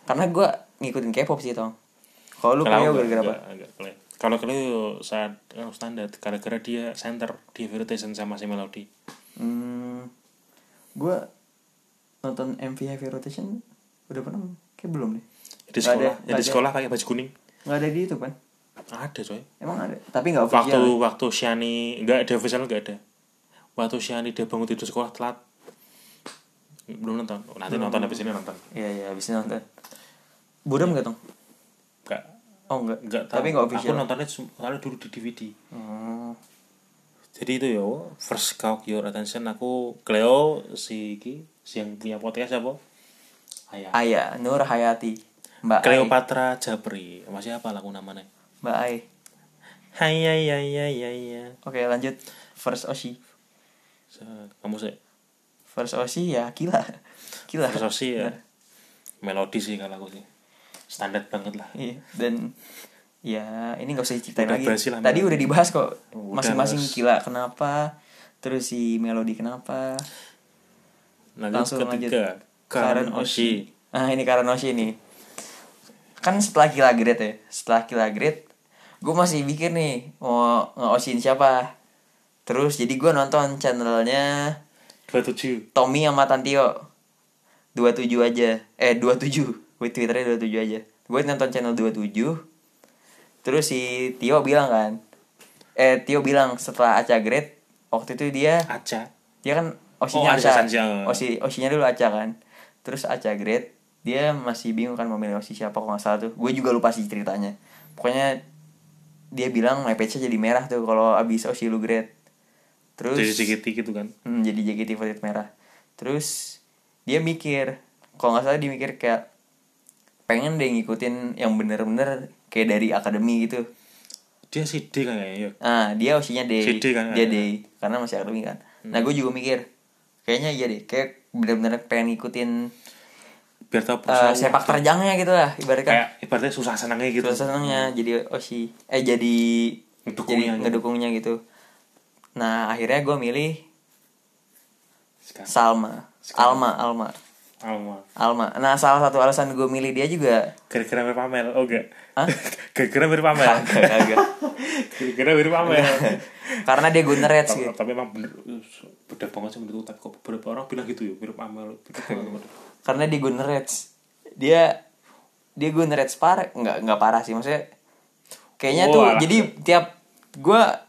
Speaker 1: Karena gue ngikutin K-pop sih tong. Kalau lu kayak
Speaker 2: Kalau enggak-
Speaker 1: gara-gara apa?
Speaker 2: enggak- enggak Cleo. kalau Cleo saat oh, standar gara-gara dia center di Veritation sama si Melody
Speaker 1: Hmm, gue nonton MV Heavy Rotation udah pernah belum? kayak belum deh.
Speaker 2: di
Speaker 1: Nggak
Speaker 2: sekolah
Speaker 1: ada,
Speaker 2: ya, di
Speaker 1: nggak
Speaker 2: sekolah pakai baju kuning
Speaker 1: Nggak ada di itu kan?
Speaker 2: ada coy
Speaker 1: Emang ada, tapi nggak
Speaker 2: waktu
Speaker 1: official.
Speaker 2: waktu Shani enggak ada official enggak ada waktu Shani dia bangun tidur sekolah telat belum nonton Oh,
Speaker 1: Hmm.
Speaker 2: nanti nonton habis ini nonton
Speaker 1: Iya iya, abis itu nonton. Buram nggak tong?
Speaker 2: enggak
Speaker 1: Oh nggak.
Speaker 2: enggak tahu.
Speaker 1: tapi nggak
Speaker 2: aku
Speaker 1: official.
Speaker 2: nontonnya sem- soalnya dulu di DVD
Speaker 1: Hmm,
Speaker 2: jadi itu ya Wo. first caught your attention aku Cleo si Ki si yang punya podcast apa Ayah
Speaker 1: Aya Nur Hayati, Mbak Ai,
Speaker 2: Cleopatra Japri masih apa lagu namanya
Speaker 1: Mbak Ai.
Speaker 2: Hai ya ya ya ya ya
Speaker 1: Oke lanjut first Oshi.
Speaker 2: Se- kamu sih
Speaker 1: First Oshi ya Nah, gila. Gila.
Speaker 2: First Oshi ya
Speaker 1: Iya.
Speaker 2: melodi sih kalau aku sih standar banget lah
Speaker 1: Iya, dan ya ini nggak usah diceritain
Speaker 2: Udah
Speaker 1: lagi.
Speaker 2: basi lah,
Speaker 1: Tadi
Speaker 2: Mbak.
Speaker 1: udah dibahas kok
Speaker 2: Udah,
Speaker 1: masing-masing
Speaker 2: Mas.
Speaker 1: gila kenapa, terus si melodi kenapa.
Speaker 2: lalu
Speaker 1: Langsung
Speaker 2: ketiga
Speaker 1: lanjut.
Speaker 2: Karen Oshi
Speaker 1: Ah, ini Karen Oshi nih. Kan setelah Kila Grade ya, setelah Kila Grade gue masih mikir nih mau nge-oshin siapa. Terus jadi gue nonton channelnya
Speaker 2: 27
Speaker 1: Tommy sama Tantio 27 aja eh 27 Wait, twitternya 27 aja gue nonton channel 27 terus si Tio bilang kan eh Tio bilang setelah Aca Great waktu itu dia
Speaker 2: Aca
Speaker 1: dia kan osinya
Speaker 2: Oh, Aca
Speaker 1: Aca
Speaker 2: Sanja.
Speaker 1: osi osinya dulu Aca kan terus Aca Great dia masih bingung kan memilih osi siapa kalau nggak salah tuh gue juga lupa sih ceritanya pokoknya dia bilang my page jadi merah tuh kalau abis osi lu great terus
Speaker 2: jadi JKT gitu kan
Speaker 1: Hmm, jadi JKT48 merah. Terus dia mikir, kalau nggak salah dia mikir kayak pengen deh ngikutin yang bener-bener kayak dari akademi gitu.
Speaker 2: dia CD kayaknya ya
Speaker 1: Nah, dia osinya D.
Speaker 2: CD kan, Hmm.
Speaker 1: Dia
Speaker 2: ya.
Speaker 1: D karena masih akademi kan. Nah, gue juga mikir kayaknya iya deh, kayak bener-bener pengen ngikutin
Speaker 2: biar tahu
Speaker 1: eh,
Speaker 2: proses
Speaker 1: sepak terjangnya gitu lah ibaratnya.
Speaker 2: kayak ibaratnya susah senangnya gitu
Speaker 1: Terus senangnya jadi osi eh jadi
Speaker 2: Ngedukungnya
Speaker 1: jadi
Speaker 2: gitu.
Speaker 1: ngedukungnya gitu. Nah, akhirnya gue milih
Speaker 2: sekarang
Speaker 1: Salma. Alma, Alma.
Speaker 2: Alma
Speaker 1: Alma. Nah, salah satu alasan gue milih dia juga
Speaker 2: gara-gara mirip Amel oh enggak
Speaker 1: Hah?
Speaker 2: gara-gara mirip Amel gara-gara mirip Amel
Speaker 1: karena dia Gunner Reds
Speaker 2: tapi,
Speaker 1: gitu.
Speaker 2: tapi emang bener beda banget sih menurut aku. tapi kok beberapa orang bilang gitu ya mirip Amel beda banget
Speaker 1: Karena dia Gunner Reds. Dia dia Gunner Reds parah, enggak enggak parah sih maksudnya. Kayaknya
Speaker 2: Oh,
Speaker 1: tuh
Speaker 2: alah.
Speaker 1: jadi tiap gua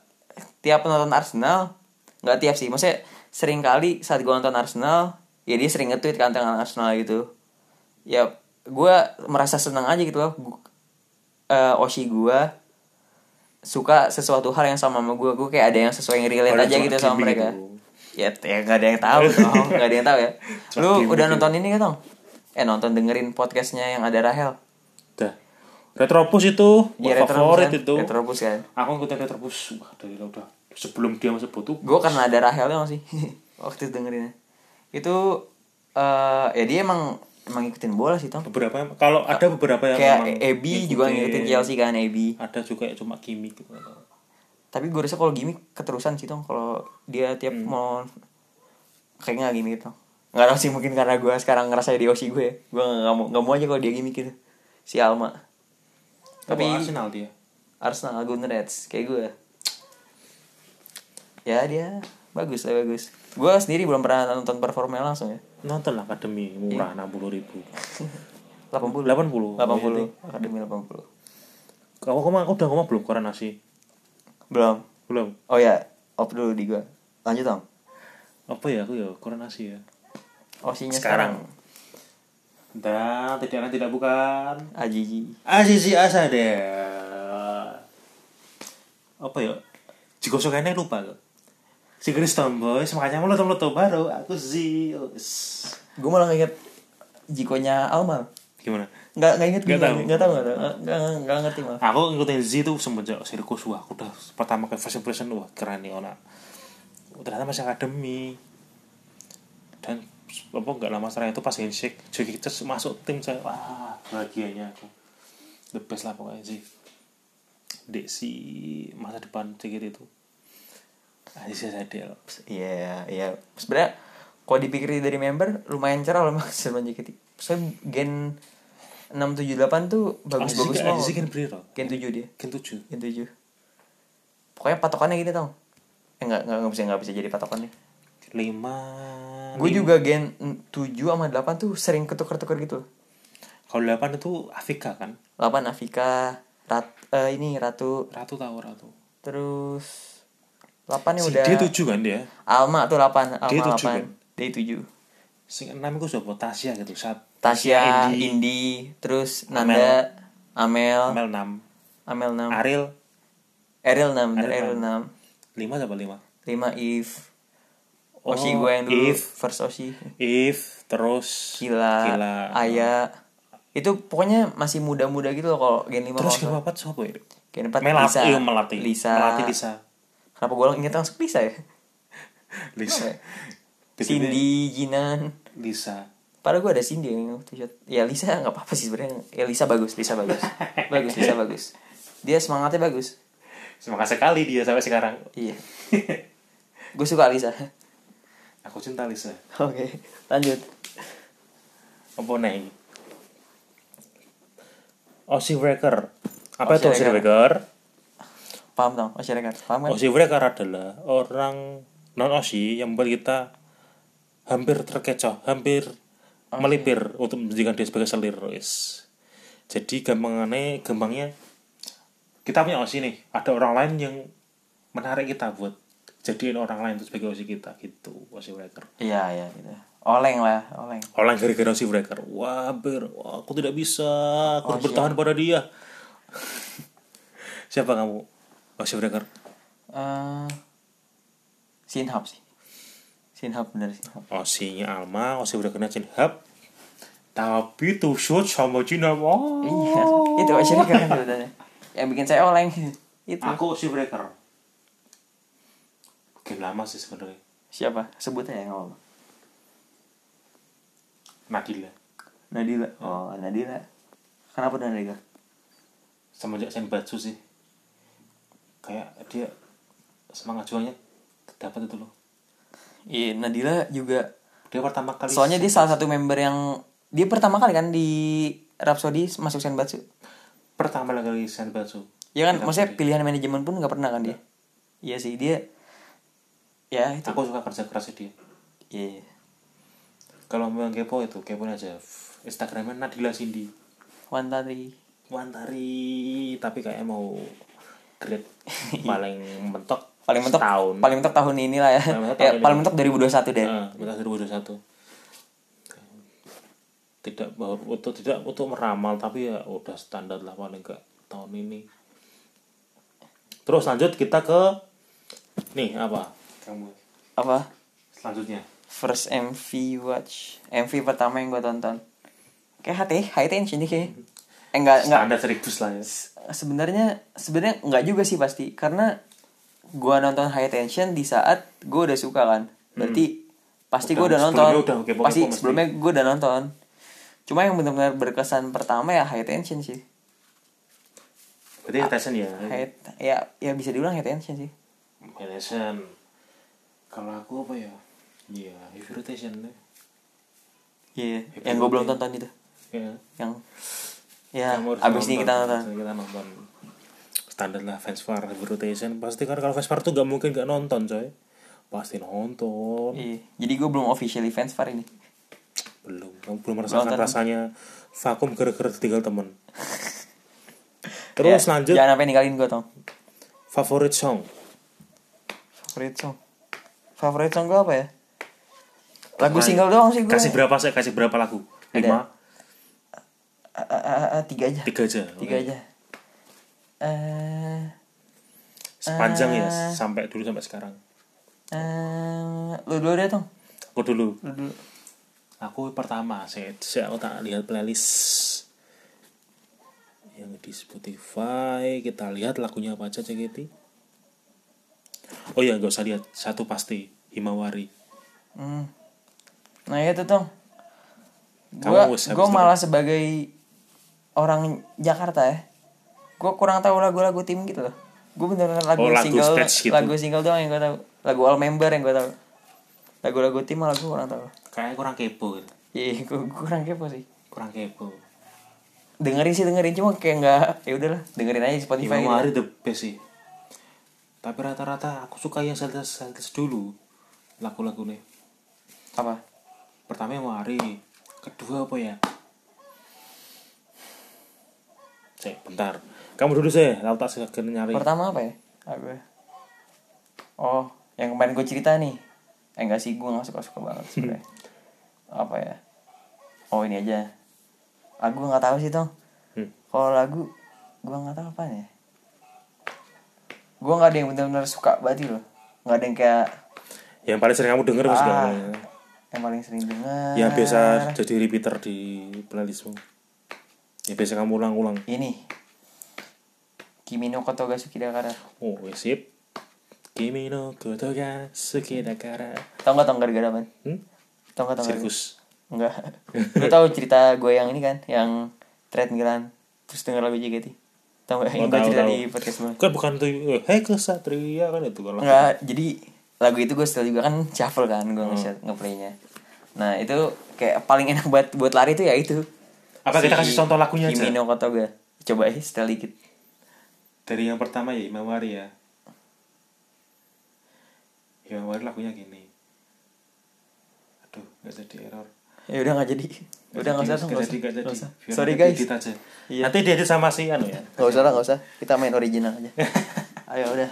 Speaker 1: tiap nonton Arsenal, enggak tiap sih, maksudnya sering kali saat gua nonton Arsenal, ya dia sering nge-tweet kan tentang Arsenal gitu. Ya gua merasa senang aja gitu loh. Gu- eh, Oshi gua suka sesuatu hal yang sama sama gue gue kayak ada yang sesuai yang relate
Speaker 2: Padahal
Speaker 1: aja
Speaker 2: cuma
Speaker 1: gitu sama
Speaker 2: gimmick
Speaker 1: mereka
Speaker 2: itu.
Speaker 1: ya ya gak ada yang tahu dong gak ada yang tahu ya
Speaker 2: Cuma
Speaker 1: lu
Speaker 2: gimmick
Speaker 1: udah
Speaker 2: itu.
Speaker 1: nonton ini gak tong eh nonton dengerin podcastnya yang ada Rahel
Speaker 2: Dah. Retrobus itu
Speaker 1: Iya,
Speaker 2: buat favorit
Speaker 1: kan?
Speaker 2: itu.
Speaker 1: Retrobus kan
Speaker 2: Aku ngikutin Retrobus Wah, dari udah sebelum dia masuk butuh.
Speaker 1: gue karena ada Rahelnya masih waktu itu dengerinnya itu eh ya dia emang emang ngikutin bola sih Tom
Speaker 2: Beberapa yang- kalau ada beberapa yang
Speaker 1: kayak
Speaker 2: memang
Speaker 1: Ebi juga ngikutin Chelsea kan Ebi
Speaker 2: Ada juga yang cuma gimmick gitu.
Speaker 1: tapi gue rasa kalau gimmick keterusan sih Tom kalau dia tiap
Speaker 2: Hmm.
Speaker 1: mau kayaknya nggak gimmick Tom nggak tahu sih mungkin karena gue sekarang ngerasa di osi gue ya. gue nggak nggak mau nggak mau aja kalau dia gimmick gitu si Alma
Speaker 2: Tapi
Speaker 1: tapi
Speaker 2: Arsenal dia.
Speaker 1: Arsenal Golden Reds kayak gue ya dia bagus lah bagus gue sendiri belum pernah nonton performnya langsung ya
Speaker 2: Nonton lah Akademi murah 60.000.
Speaker 1: 80 80
Speaker 2: 80. iya.
Speaker 1: akademi 80
Speaker 2: Kamu ngomong udah ngomong belum koran nasi?
Speaker 1: belum
Speaker 2: Belum.
Speaker 1: oh ya op dulu di gua lanjut dong
Speaker 2: Apa ya aku ya koran nasi ya.
Speaker 1: osinya
Speaker 2: Sekarang.
Speaker 1: sekarang,
Speaker 2: Dan tidak lain tidak bukan Ah,
Speaker 1: Ajiji
Speaker 2: Azizi Asade. Apa ya? Jika suka ini lupa kok. Si Chris Tomboy, makanya lo lo baru aku oh, Zeus.
Speaker 1: gue malah inget jikonya Alma
Speaker 2: Gimana?
Speaker 1: nggak nggak inget
Speaker 2: Nggak
Speaker 1: gimana.
Speaker 2: tahu.
Speaker 1: nggak tahu nggak tahu nggak nggak- nggak ngerti malah
Speaker 2: Aku ngikutin Z tuh semenjak sirkus wah aku udah pertama ke first impression wah keren nih orang. Ternyata masih akademi. Dan apa nggak lama setelah itu pas handshake Joki Kites masuk tim saya wah bahagianya aku the best lah pokoknya sih dek si masa depan sedikit itu Aziz Sadel
Speaker 1: iya iya sebenarnya kalau dipikir dari member lumayan cerah loh mas Serban JKT soalnya gen 678 tuh bagus bagus oh.
Speaker 2: Aziz
Speaker 1: semua
Speaker 2: Aziz kan berapa
Speaker 1: gen 7 dia
Speaker 2: kan tujuh
Speaker 1: gen 7 pokoknya patokannya gitu tau eh nggak nggak nggak bisa nggak bisa jadi patokannya
Speaker 2: lima
Speaker 1: Gue juga gen mm, 7 sama 8 tuh sering ketukar-tukar gitu.
Speaker 2: kalau delapan itu Afika kan
Speaker 1: 8 Afika, Rat, eh, ini Ratu,
Speaker 2: ratu tahu ratu
Speaker 1: terus 8 ya
Speaker 2: si
Speaker 1: udah
Speaker 2: dia tujuh kan dia
Speaker 1: Alma tuh 8, Alma
Speaker 2: Dia
Speaker 1: 8.
Speaker 2: tujuh kan?
Speaker 1: Dia 7.
Speaker 2: sing enam itu siapa Tasya gitu saat
Speaker 1: Tasya,
Speaker 2: Indi,
Speaker 1: Indi, terus Nanda, Amel,
Speaker 2: Mel enam
Speaker 1: Amel, 6,
Speaker 2: Ariel
Speaker 1: Eril 6,
Speaker 2: Ariel
Speaker 1: Eril 6,
Speaker 2: lima siapa lima
Speaker 1: 5 Eve.
Speaker 2: Oh,
Speaker 1: Oshi gue yang dulu,
Speaker 2: Eve.
Speaker 1: first Oshi.
Speaker 2: If terus
Speaker 1: Gila,
Speaker 2: Gila.
Speaker 1: Aya. Itu pokoknya masih muda-muda gitu loh kalau gen 5
Speaker 2: hmm. terus kelima empat siapa ya
Speaker 1: Gen 4
Speaker 2: Melati
Speaker 1: Lisa.
Speaker 2: iya, Melati
Speaker 1: Lisa.
Speaker 2: Melati Lisa
Speaker 1: Kenapa gue inget langsung Lisa ya?
Speaker 2: Lisa Tiba-tiba
Speaker 1: Cindy, Jinan.
Speaker 2: Lisa
Speaker 1: Padahal gue ada Cindy yang waktu itu. Ya Lisa nggak apa-apa sih sebenarnya. Ya Lisa bagus, Lisa bagus. bagus, Lisa bagus. Dia semangatnya bagus.
Speaker 2: semangat sekali dia sampai sekarang
Speaker 1: Iya. gue suka Lisa.
Speaker 2: aku cinta Lisa
Speaker 1: Oke, lanjut.
Speaker 2: apa nih Osi Breaker apa
Speaker 1: Osi
Speaker 2: itu Osi Breaker
Speaker 1: Paham dong, masyarakat. Paham kan?
Speaker 2: Osi Breaker adalah orang non Osi yang membuat kita hampir terkecoh, hampir melipir untuk menjadikan dia sebagai selir. wis. Jadi gampangannya, gampangnya kita punya Osi nih, ada orang lain yang menarik kita buat jadiin orang lain itu sebagai Osi kita gitu, Osi Breaker.
Speaker 1: Iya, iya gitu. Oleng lah, oleng.
Speaker 2: Orang gara-gara Osi Breaker, wah ber, wah, aku tidak bisa, aku harus bertahan pada dia. Siapa kamu? Osi Breaker.
Speaker 1: eh Sinhab sih. Sinhab bener Sinhab.
Speaker 2: Osinya Alma, Osi udah kena Chin Hub. Tapi tuh shoot sama Cina wow.
Speaker 1: Iya, itu masyarakat kan sebenarnya. Yang bikin saya oleng. itu.
Speaker 2: Aku Osi Breaker. Game lama sih sebenarnya.
Speaker 1: Siapa? Sebut aja nggak apa-apa.
Speaker 2: Nadila.
Speaker 1: Nadila. Oh, Nadila. Kenapa dengan Nadila?
Speaker 2: Semenjak Senbatsu sih. Kayak dia semangat juangnya dapat itu loh.
Speaker 1: Iya, Nadila juga.
Speaker 2: Dia pertama kali
Speaker 1: Soalnya dia salah satu member yang dia pertama kali kan di Rhapsody masuk Senbatsu.
Speaker 2: pertama kali Senbatsu.
Speaker 1: Ya kan, maksudnya pilihan manajemen pun nggak pernah kan dia. Iya sih dia. Ya itu.
Speaker 2: Aku suka kerja kerasnya dia.
Speaker 1: Iya.
Speaker 2: Kalau mau yang kepo itu kepo aja. Instagramnya Nadila Cindy.
Speaker 1: One Tari.
Speaker 2: Wantari tapi kayak mau grade paling mentok
Speaker 1: Paling mentok
Speaker 2: tahun
Speaker 1: Paling mentok tahun inilah ya.
Speaker 2: Paling mentok
Speaker 1: ya
Speaker 2: tahun ini. Hmm.
Speaker 1: paling mentok 2021 deh.
Speaker 2: mentok 2021 tidak bahwa untuk tidak untuk meramal tapi ya udah standar lah paling enggak tahun ini terus lanjut kita ke nih apa kamu
Speaker 1: Apa?
Speaker 2: selanjutnya
Speaker 1: First MV Watch. MV pertama yang gue tonton. kayak hati high tension nih kayak eh, enggak enggak
Speaker 2: standar serius lah ya
Speaker 1: sebenarnya sebenarnya enggak juga sih pasti karena gua nonton high tension di saat gua udah suka kan berarti pasti gua
Speaker 2: Hmm.
Speaker 1: udah nonton
Speaker 2: Udah, sebelumnya udah kepo-kepo
Speaker 1: pasti
Speaker 2: mesti.
Speaker 1: sebelumnya gua udah nonton cuma yang benar-benar berkesan pertama ya high tension sih
Speaker 2: berarti
Speaker 1: Ah,
Speaker 2: attention ya
Speaker 1: high ya ya bisa diulang high tension sih
Speaker 2: attention kalau aku apa ya iya heavy rotation deh
Speaker 1: iya
Speaker 2: Happy
Speaker 1: yang gua belum
Speaker 2: Birthday.
Speaker 1: tonton itu
Speaker 2: ya
Speaker 1: yang ya
Speaker 2: Kamu harus
Speaker 1: abis ini kita nonton
Speaker 2: Abis ini kita nonton standar lah Vanspar heavy rotation pasti kan kalau Vanspar tuh gak mungkin gak nonton coy pasti nonton
Speaker 1: Iya, jadi gue belum officially fans Far ini.
Speaker 2: belum kamu belum merasakan
Speaker 1: Nonton.
Speaker 2: rasanya vakum gara-gara tinggal temen terus
Speaker 1: Ya,
Speaker 2: lanjut
Speaker 1: Jangan sampai ninggalin gue tong.
Speaker 2: favorite song
Speaker 1: Favorite song. Favorite song gue apa ya? Lagu single doang sih gue.
Speaker 2: kasih berapa saya kasih berapa lagu
Speaker 1: Ada.
Speaker 2: lima
Speaker 1: A- a- a- a- tiga aja.
Speaker 2: tiga aja
Speaker 1: Tiga aja. Eh,
Speaker 2: sepanjang ya
Speaker 1: Ah.
Speaker 2: sampai dulu sampai sekarang
Speaker 1: eh, lu dulu deh tong.
Speaker 2: aku dulu
Speaker 1: Lu dulu.
Speaker 2: aku pertama saya, saya aku tak lihat playlist yang di Spotify kita lihat lagunya apa aja CGT oh ya nggak usah lihat satu pasti Himawari
Speaker 1: Hmm. Nah itu tong. Gue
Speaker 2: Kamu habis
Speaker 1: gue
Speaker 2: itu.
Speaker 1: malah sebagai orang Jakarta ya. Gue kurang tahu lagu-lagu tim gitu loh. Gue bener-bener lagu,
Speaker 2: Oh, lagu
Speaker 1: single,
Speaker 2: stretch gitu.
Speaker 1: lagu single doang yang gue tahu. Lagu all member yang gue tahu. Lagu-lagu tim malah gue kurang tahu.
Speaker 2: kayaknya kurang kepo gitu.
Speaker 1: Iya, gue kurang kepo sih.
Speaker 2: kurang kepo
Speaker 1: Dengerin sih dengerin cuma kayak nggak ya udahlah dengerin aja di Spotify. gitu.
Speaker 2: Himawari ya? the best sih tapi rata-rata aku suka yang Celtics Celtics dulu lagu-lagunya
Speaker 1: Apa?
Speaker 2: pertama Himawari kedua apa ya saya bentar kamu dulu saya lalu tak segan nyari
Speaker 1: Pertama apa ya? Lagu. Oh, yang kemarin gue cerita nih. Eh enggak sih, gue nggak suka-suka banget sebenarnya. apa ya? Oh ini aja. Aku nggak tahu sih tong.
Speaker 2: Hmm.
Speaker 1: Kalau lagu, gue nggak tahu apa ya. Gue nggak ada yang benar-benar suka banget gitu loh. Nggak ada yang kayak
Speaker 2: yang paling sering kamu denger apa sih?
Speaker 1: Ah. yang paling sering denger.
Speaker 2: yang biasa jadi repeater di playlistmu yang biasa kamu ulang-ulang
Speaker 1: Ini. Kimi no Koto ga Suki da Kara.
Speaker 2: oh ya sip Kimi no koto ga suki da kara
Speaker 1: Tau nggak tau gara-gara apaan?
Speaker 2: hmm?
Speaker 1: Tau nggak tau gara-gara?
Speaker 2: sirkus
Speaker 1: Enggak. Lu tahu cerita gue yang ini kan, yang thread ngilan terus denger lagu JKT. Tahu enggak
Speaker 2: Oh,
Speaker 1: yang gue
Speaker 2: tahu,
Speaker 1: cerita
Speaker 2: tahu.
Speaker 1: di podcast gue?
Speaker 2: kan bukan tuh eh, hei kesatria kan itu kan lagu.
Speaker 1: Enggak, jadi lagu itu gue setel juga kan shuffle kan gue
Speaker 2: Hmm.
Speaker 1: nge ngeplaynya. Nah, itu kayak paling enak buat buat lari tuh ya itu.
Speaker 2: apa kita kasih contoh lagunya aja
Speaker 1: Kimi no Kotoga. Coba eh setel dikit.
Speaker 2: dari yang pertama ya Himawari ya Himawari lagunya gini aduh gak jadi error
Speaker 1: Ya udah enggak jadi. Udah enggak usah,
Speaker 2: jadi,
Speaker 1: enggak usah.
Speaker 2: jadi, nggak
Speaker 1: Nggak
Speaker 2: jadi.
Speaker 1: usah.
Speaker 2: Biar
Speaker 1: Sorry
Speaker 2: nanti
Speaker 1: guys.
Speaker 2: edit aja.
Speaker 1: Iya.
Speaker 2: nanti diedit sama si anu ya
Speaker 1: Enggak usah lah, enggak usah. Kita main original aja. Ayo udah.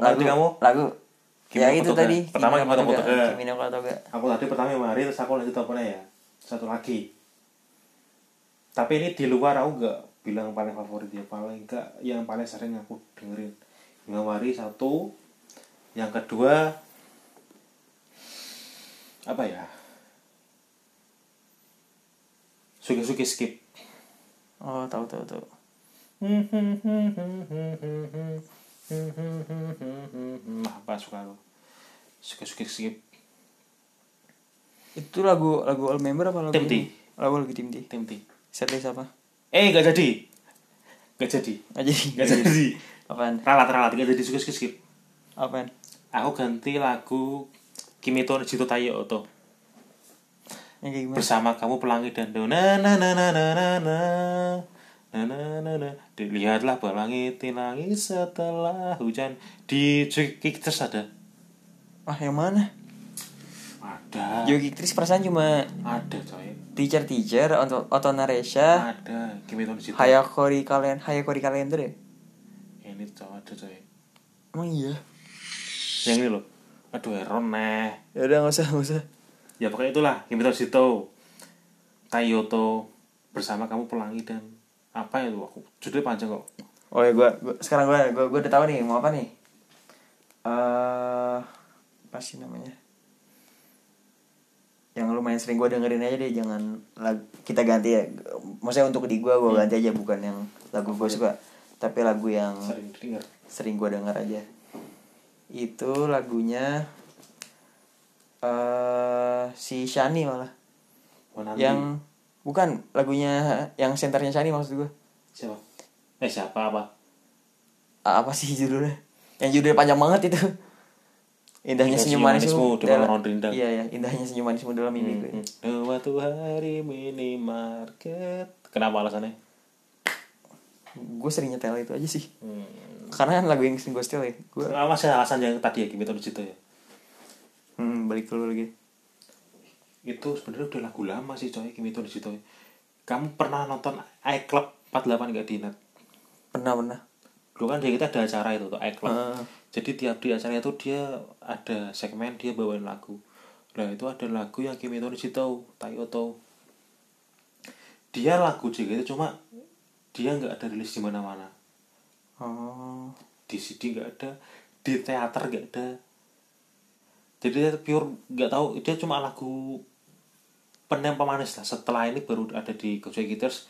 Speaker 2: Apa tadi kamu?
Speaker 1: Lagu.
Speaker 2: Kimi
Speaker 1: ya
Speaker 2: no
Speaker 1: itu
Speaker 2: Kotoga.
Speaker 1: tadi.
Speaker 2: Pertama
Speaker 1: Kimi no
Speaker 2: Kimi no
Speaker 1: Kotoga.
Speaker 2: Kotoga.
Speaker 1: Kimi no Kotoga.
Speaker 2: aku tadi pertama Himawari terus aku lanjut apa ya satu lagi tapi ini di luar aku gak bilang paling favorit ya paling gak yang paling sering aku dengerin Himawari satu yang kedua apa ya Suki-suki skip
Speaker 1: Oh, tahu tahu tahu.
Speaker 2: Nah, apa suka lu? Suki-suki skip
Speaker 1: Itu lagu lagu all member apa lagu?
Speaker 2: Tim
Speaker 1: ini? Lagu lagu tim T.
Speaker 2: Tim T.
Speaker 1: Setlist apa?
Speaker 2: Eh, gak jadi. Gak jadi.
Speaker 1: Enggak jadi.
Speaker 2: Gak jadi.
Speaker 1: Apaan?
Speaker 2: Ralat, ralat. Gak jadi suka skip, skip.
Speaker 1: Apaan?
Speaker 2: Aku ganti lagu Kimito no Jito Tayo Oto.
Speaker 1: Yang kayak gimana?
Speaker 2: Bersama kamu pelangi dan do na na na na na na na na na na na Dilihatlah pelangi tilangi setelah hujan Di Jukik terus ada
Speaker 1: Ah, yang mana?
Speaker 2: Ada
Speaker 1: Jogi Tris perasaan cuma
Speaker 2: Ada coy
Speaker 1: teacher teacher Oto Oto Naresha,
Speaker 2: Ada Kimito no Jito
Speaker 1: Hayakori kalian Hayakori kalender ya?
Speaker 2: Ini coy ada coy
Speaker 1: Emang iya.
Speaker 2: Yang ini loh Aduh eh. Heron neh
Speaker 1: Ya udah enggak usah, enggak usah.
Speaker 2: Ya pokoknya itulah Kimito no Jito Tayoto Bersama kamu pelangi dan Apa ya tuh aku Judulnya panjang kok
Speaker 1: Oh ya gua, gua- sekarang gua, gua gua udah tahu nih mau apa nih. Eh apa sih namanya? yang lumayan sering gue dengerin aja deh jangan lag- kita ganti ya maksudnya untuk di gue gue ganti aja bukan yang lagu gue suka tapi lagu yang
Speaker 2: sering denger
Speaker 1: sering gue denger aja itu lagunya eh si Shani malah
Speaker 2: Wannabe.
Speaker 1: yang bukan lagunya yang senternya Shani maksud gue
Speaker 2: siapa eh siapa apa
Speaker 1: A- apa sih judulnya yang judulnya panjang banget itu indahnya
Speaker 2: Indah
Speaker 1: senyum
Speaker 2: senyum
Speaker 1: manismu
Speaker 2: manismu di
Speaker 1: dalam-
Speaker 2: malam rindang. Hmm.
Speaker 1: iya ya indahnya senyum manismu dalam mimpiku
Speaker 2: suatu hari minimarket kenapa alasannya
Speaker 1: gue sering nyetel itu aja sih
Speaker 2: hmm.
Speaker 1: karena kan lagu yang sering gue setel ya gue
Speaker 2: Ah, masih alasan yang tadi ya gitu situ ya
Speaker 1: hmm, balik dulu lagi
Speaker 2: itu sebenarnya udah lagu lama sih coy Kimito di situ kamu pernah nonton iClub 48 gak di net
Speaker 1: pernah pernah
Speaker 2: dulu kan dia kita ada acara itu tuh iClub
Speaker 1: Heeh.
Speaker 2: jadi tiap di acara itu dia ada segmen dia bawain lagu nah itu ada lagu yang Kimito di situ Tayoto dia lagu JKT cuma dia nggak ada rilis di mana-mana
Speaker 1: oh
Speaker 2: di CD nggak ada di teater nggak ada jadi dia pure nggak tahu dia cuma lagu penem pemanis lah setelah ini baru ada di Gojek Guitars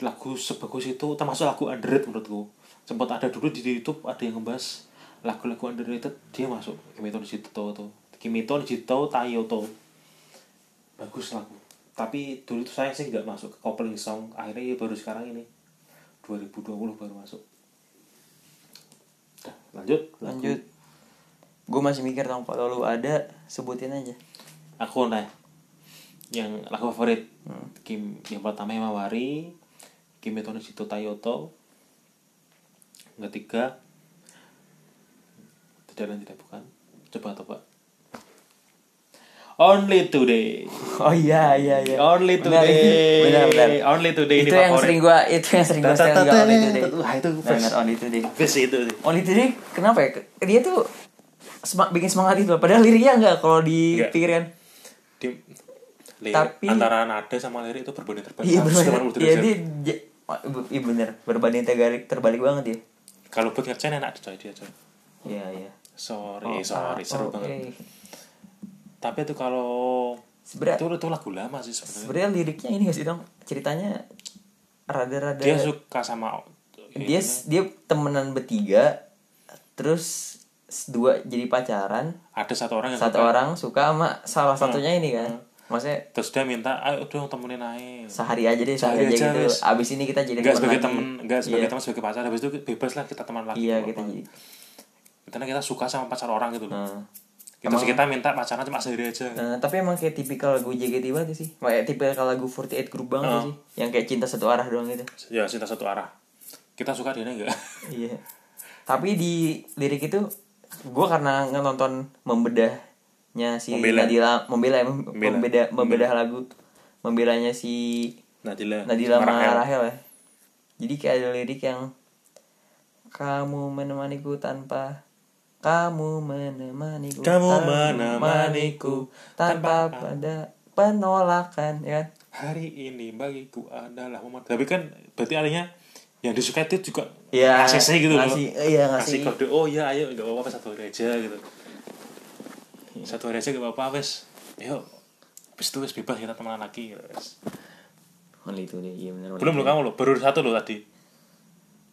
Speaker 2: lagu sebagus itu termasuk lagu underrated menurutku sempat ada dulu di YouTube ada yang ngebahas lagu-lagu underrated dia masuk Kimito Nishito tuh Kimito Nishito Tayoto bagus lagu tapi dulu tuh saya sih nggak masuk ke coupling song akhirnya ya baru sekarang ini 2020 baru masuk Dah, lanjut lagu.
Speaker 1: lanjut gue masih mikir tau kalau lu ada sebutin aja
Speaker 2: aku nah yang lagu favorit
Speaker 1: Hmm.
Speaker 2: Kim yang pertama Himawari Kim Yoto Nishito Tayoto yang ketiga tidak dan tidak bukan coba coba Only Today
Speaker 1: oh iya iya iya
Speaker 2: Only
Speaker 1: Benar,
Speaker 2: Today
Speaker 1: benar benar
Speaker 2: Only Today
Speaker 1: itu yang sering gue itu yang sering gue setel juga only today
Speaker 2: Wah, itu
Speaker 1: Benar, only today
Speaker 2: Habis itu sih
Speaker 1: only today Oh, kenapa ya dia tuh semak, bikin semangat itu padahal liriknya enggak kalau
Speaker 2: Iya.
Speaker 1: kan. dipikirkan
Speaker 2: Di- lirik-
Speaker 1: Tapi-
Speaker 2: antara nada sama lirik itu berbanding terbalik
Speaker 1: iya benar
Speaker 2: 180
Speaker 1: iya
Speaker 2: derajat.
Speaker 1: dia j- iya benar berbanding terbalik terbalik banget ya
Speaker 2: kalau buat ngerjain enak coy dia coy
Speaker 1: iya iya
Speaker 2: sorry sorry seru
Speaker 1: Oh,
Speaker 2: banget
Speaker 1: oke.
Speaker 2: tapi itu kalau
Speaker 1: sebenernya
Speaker 2: itu itu lagu lama sih sebenarnya
Speaker 1: sebenernya liriknya ini gak sih Tom? ceritanya rada-rada
Speaker 2: dia suka sama
Speaker 1: dia dia temenan bertiga terus dua jadi pacaran
Speaker 2: ada satu orang yang
Speaker 1: satu
Speaker 2: suka.
Speaker 1: orang suka sama salah
Speaker 2: Hmm.
Speaker 1: satunya ini kan maksudnya
Speaker 2: terus dia minta ayo dong temenin naik
Speaker 1: sehari aja deh sehari,
Speaker 2: Sehari
Speaker 1: aja,
Speaker 2: aja,
Speaker 1: gitu
Speaker 2: wes.
Speaker 1: abis ini kita jadi teman
Speaker 2: enggak sebagai
Speaker 1: lagi.
Speaker 2: teman enggak sebagai
Speaker 1: Iya.
Speaker 2: teman sebagai pacar habis itu bebas lah kita teman lagi
Speaker 1: iya
Speaker 2: apa-apa.
Speaker 1: kita jadi
Speaker 2: karena kita suka sama pacar orang gitu loh
Speaker 1: nah.
Speaker 2: kita kita minta pacaran cuma sendiri aja
Speaker 1: Nah, tapi emang kayak tipikal lagu JKT banget sih kayak tipikal lagu 48 group banget
Speaker 2: Oh.
Speaker 1: sih yang kayak cinta satu arah doang gitu
Speaker 2: ya cinta satu arah kita suka dia enggak
Speaker 1: iya tapi di lirik itu gue karena nonton membedahnya si
Speaker 2: Membela.
Speaker 1: Nadila membela ya, mem-
Speaker 2: Membela. Hmm.
Speaker 1: membeda membedah lagu membelanya si
Speaker 2: Nadila
Speaker 1: Nadila
Speaker 2: sama Rahel.
Speaker 1: sama Rahel ya jadi kayak ada lirik yang kamu menemaniku tanpa kamu menemaniku
Speaker 2: Kamu
Speaker 1: tanpa-
Speaker 2: menemaniku
Speaker 1: tanpa
Speaker 2: tanpa-
Speaker 1: pada penolakan ya kan
Speaker 2: hari ini bagiku adalah momen tapi kan berarti artinya yang disukai itu juga
Speaker 1: Iya,
Speaker 2: ngasih sih gitu
Speaker 1: ngasih-
Speaker 2: loh
Speaker 1: iya, ngasih.
Speaker 2: ngasih kode oh iya ayo gak apa-apa satu hari aja gitu
Speaker 1: Iya.
Speaker 2: satu hari aja gak apa-apa wes yuk habis itu wes bebas kita temenan lagi gitu, wes.
Speaker 1: Only itu deh, iya benar.
Speaker 2: belum lo kamu lo baru satu lo tadi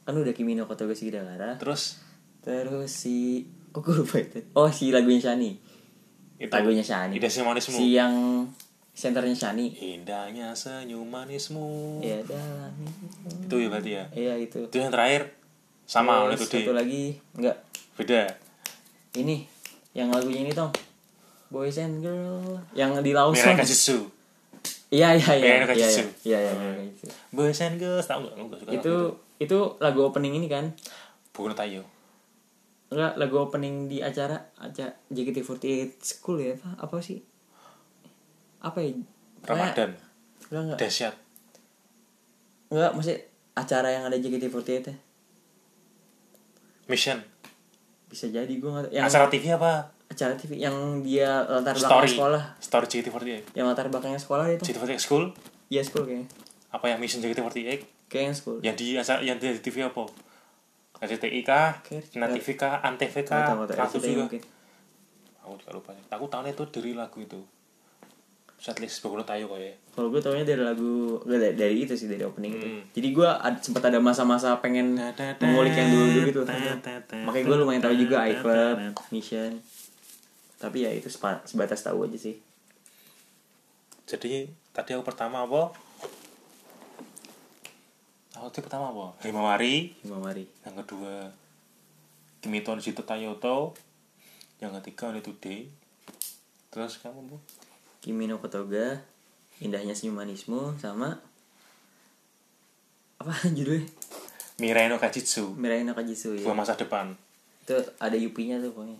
Speaker 1: Kan udah Kimi no Kotoge Shigidagara.
Speaker 2: terus
Speaker 1: Terus si Oh gue lupa itu Oh si lagunya Shani
Speaker 2: itu
Speaker 1: Lagunya Shani
Speaker 2: Indah senyum manismu
Speaker 1: Si yang Senternya Shani
Speaker 2: indahnya senyum manismu
Speaker 1: Ya dalam ini.
Speaker 2: itu ya berarti ya
Speaker 1: Iya itu
Speaker 2: itu yang terakhir sama oleh
Speaker 1: Terus
Speaker 2: itu
Speaker 1: Satu lagi Enggak
Speaker 2: beda
Speaker 1: Ini Yang lagunya ini Tom Boys and Girl Yang di Lawson
Speaker 2: mereka susu
Speaker 1: Iya iya iya
Speaker 2: Mirena
Speaker 1: Iya iya
Speaker 2: Kajitsu.
Speaker 1: Iya iya Mirena Kajitsu.
Speaker 2: boys and girls tau gak Aku gak suka
Speaker 1: Itu Itu lagu opening ini kan
Speaker 2: bukan tayo
Speaker 1: Enggak lagu opening di acara acara JKT48 School ya apa, apa sih Apa ya
Speaker 2: Ramadan
Speaker 1: Enggak enggak
Speaker 2: dahsyat
Speaker 1: Enggak, maksudnya acara yang ada JKT48 ya.
Speaker 2: mission
Speaker 1: Bisa jadi gue nggak tahu. Yang acara,
Speaker 2: acara TV apa
Speaker 1: TV yang dia latar belakang
Speaker 2: story
Speaker 1: sekolah.
Speaker 2: story JKT48
Speaker 1: Yang latar belakangnya sekolah itu.
Speaker 2: JKT48 school
Speaker 1: Iya, school kayaknya.
Speaker 2: apa yang mission JKT48
Speaker 1: Kayaknya yang school.
Speaker 2: yang di acara yang di TV apa RCTI kah
Speaker 1: Kayak-
Speaker 2: Nat TV kah Antv
Speaker 1: Nggak tahu,
Speaker 2: kah
Speaker 1: nggak tahu.
Speaker 2: Aku
Speaker 1: RCTI
Speaker 2: juga
Speaker 1: mungkin.
Speaker 2: aku juga lupa sih. aku tahun itu dari lagu itu setlist Bokuno Tayo kok ya
Speaker 1: Kalau gue taunya dari lagu nggak, dari, dari itu sih dari opening itu.
Speaker 2: Hmm.
Speaker 1: Jadi gue ad, sempat ada masa-masa pengen mengulik yang dulu gitu. Makanya gue lumayan tahu juga I Club, Mission. Tapi ya itu sepa- sebatas tahu aja sih.
Speaker 2: jadi tadi aku pertama apa aku tuh pertama apa Himawari
Speaker 1: Himawari.
Speaker 2: yang kedua Kimito Nishito Tayoto yang ketiga Only Today terus kamu bu
Speaker 1: Kimi no Kotoga, Indahnya Senyum Manismu sama apa judulnya?
Speaker 2: Mirai no Kajitsu
Speaker 1: Mirai no Kajitsu
Speaker 2: buah
Speaker 1: ya.
Speaker 2: masa depan
Speaker 1: Itu ada UP-nya tuh pokoknya.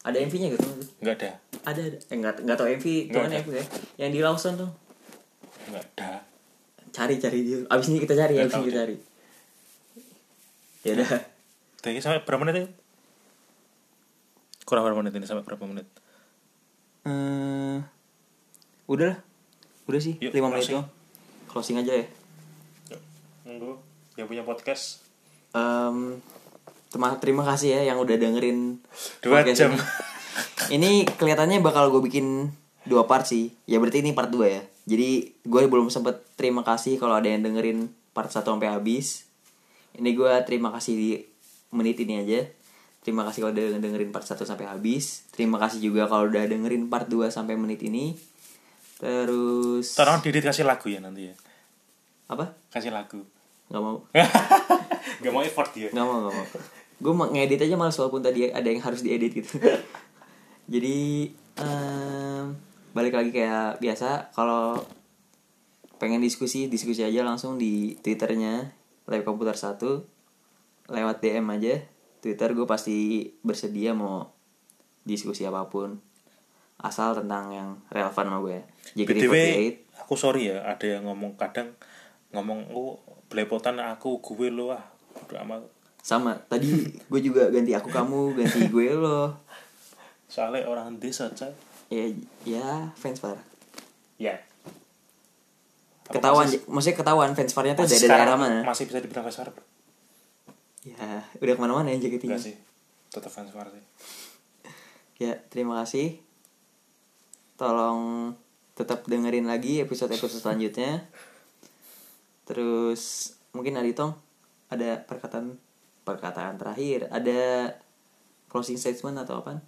Speaker 1: Ada MV-nya gitu tuh.
Speaker 2: nggak ada
Speaker 1: Ada ada. Eh enggak enggak tahu MV, cuman
Speaker 2: ada.
Speaker 1: MV ya. Yang di Lawson tuh.
Speaker 2: nggak ada
Speaker 1: Cari cari dia. Abis ini kita cari ya,
Speaker 2: Nggak
Speaker 1: abis ini kita
Speaker 2: tahu deh.
Speaker 1: cari. Ya udah.
Speaker 2: Tadi sampai berapa menit ya? ini? Kurang berapa menit ini sampai berapa menit?
Speaker 1: Eh udah lah. Udah sih,
Speaker 2: Yuk,
Speaker 1: lima menit
Speaker 2: closing.
Speaker 1: doang. Closing aja ya.
Speaker 2: Nunggu yang punya podcast
Speaker 1: Em, terima, terima kasih ya yang udah dengerin
Speaker 2: dua
Speaker 1: podcast
Speaker 2: jam.
Speaker 1: ini. Ini kelihatannya bakal gue bikin dua part sih. Ya berarti ini part 2 ya. Jadi gue belum sempet terima kasih kalau ada yang dengerin part 1 sampai habis. Ini gue terima kasih di menit ini aja. Terima kasih kalau udah dengerin part 1 sampai habis. Terima kasih juga kalau udah dengerin part 2 sampai menit ini. Terus
Speaker 2: Tolong Didit kasih lagu ya nanti ya.
Speaker 1: apa?
Speaker 2: Kasih lagu.
Speaker 1: Gak mau.
Speaker 2: Gak mau effort dia.
Speaker 1: Gak mau, gak mau. Gue ngedit aja malas walaupun tadi ada yang harus diedit gitu. Jadi em, balik lagi kayak biasa kalau pengen diskusi diskusi aja langsung di twitternya live komputer 1 lewat DM aja Twitter gue pasti bersedia mau diskusi apapun asal tentang yang relevan sama ya. gue
Speaker 2: BTW,
Speaker 1: JKT48
Speaker 2: aku sorry ya, ada yang ngomong kadang ngomong oh belepotan aku gue lo ah. Udah amat.
Speaker 1: sama tadi gue juga ganti aku kamu ganti gue loh
Speaker 2: Soalnya orang desa aja.
Speaker 1: ya ya fans parah
Speaker 2: Ya. Apa
Speaker 1: ketahuan
Speaker 2: masih-
Speaker 1: j- maksudnya ketahuan fans farnya tuh
Speaker 2: masih
Speaker 1: dari daerah
Speaker 2: sekarang
Speaker 1: mana
Speaker 2: Masih bisa dibilang fans Farber.
Speaker 1: ya udah kemana-mana ya JKT
Speaker 2: Enggak sih. Tetap fans Farber sih.
Speaker 1: ya terima kasih tolong tetap dengerin lagi episode episode selanjutnya terus mungkin Aditong ada perkataan perkataan terakhir ada closing statement atau apa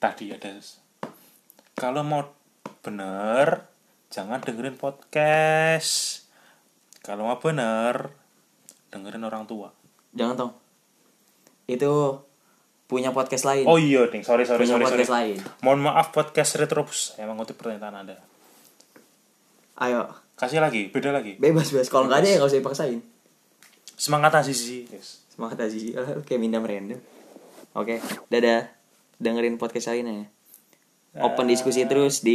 Speaker 2: tadi ada kalau mau bener jangan dengerin podcast kalau mau bener dengerin orang tua
Speaker 1: jangan tong itu punya podcast lain
Speaker 2: oh iya ding sorry sorry
Speaker 1: punya
Speaker 2: sorry, sorry.
Speaker 1: podcast lain
Speaker 2: mohon maaf podcast retrobus saya mengutip pertanyaan anda
Speaker 1: ayo
Speaker 2: kasih lagi beda lagi
Speaker 1: bebas bebas kalau nggak ada ya nggak usah dipaksain
Speaker 2: semangat azizi yes.
Speaker 1: Semangat Azizi Alah, Kayak minda random Oke Dadah Dengerin podcast lainnya ya Open diskusi terus di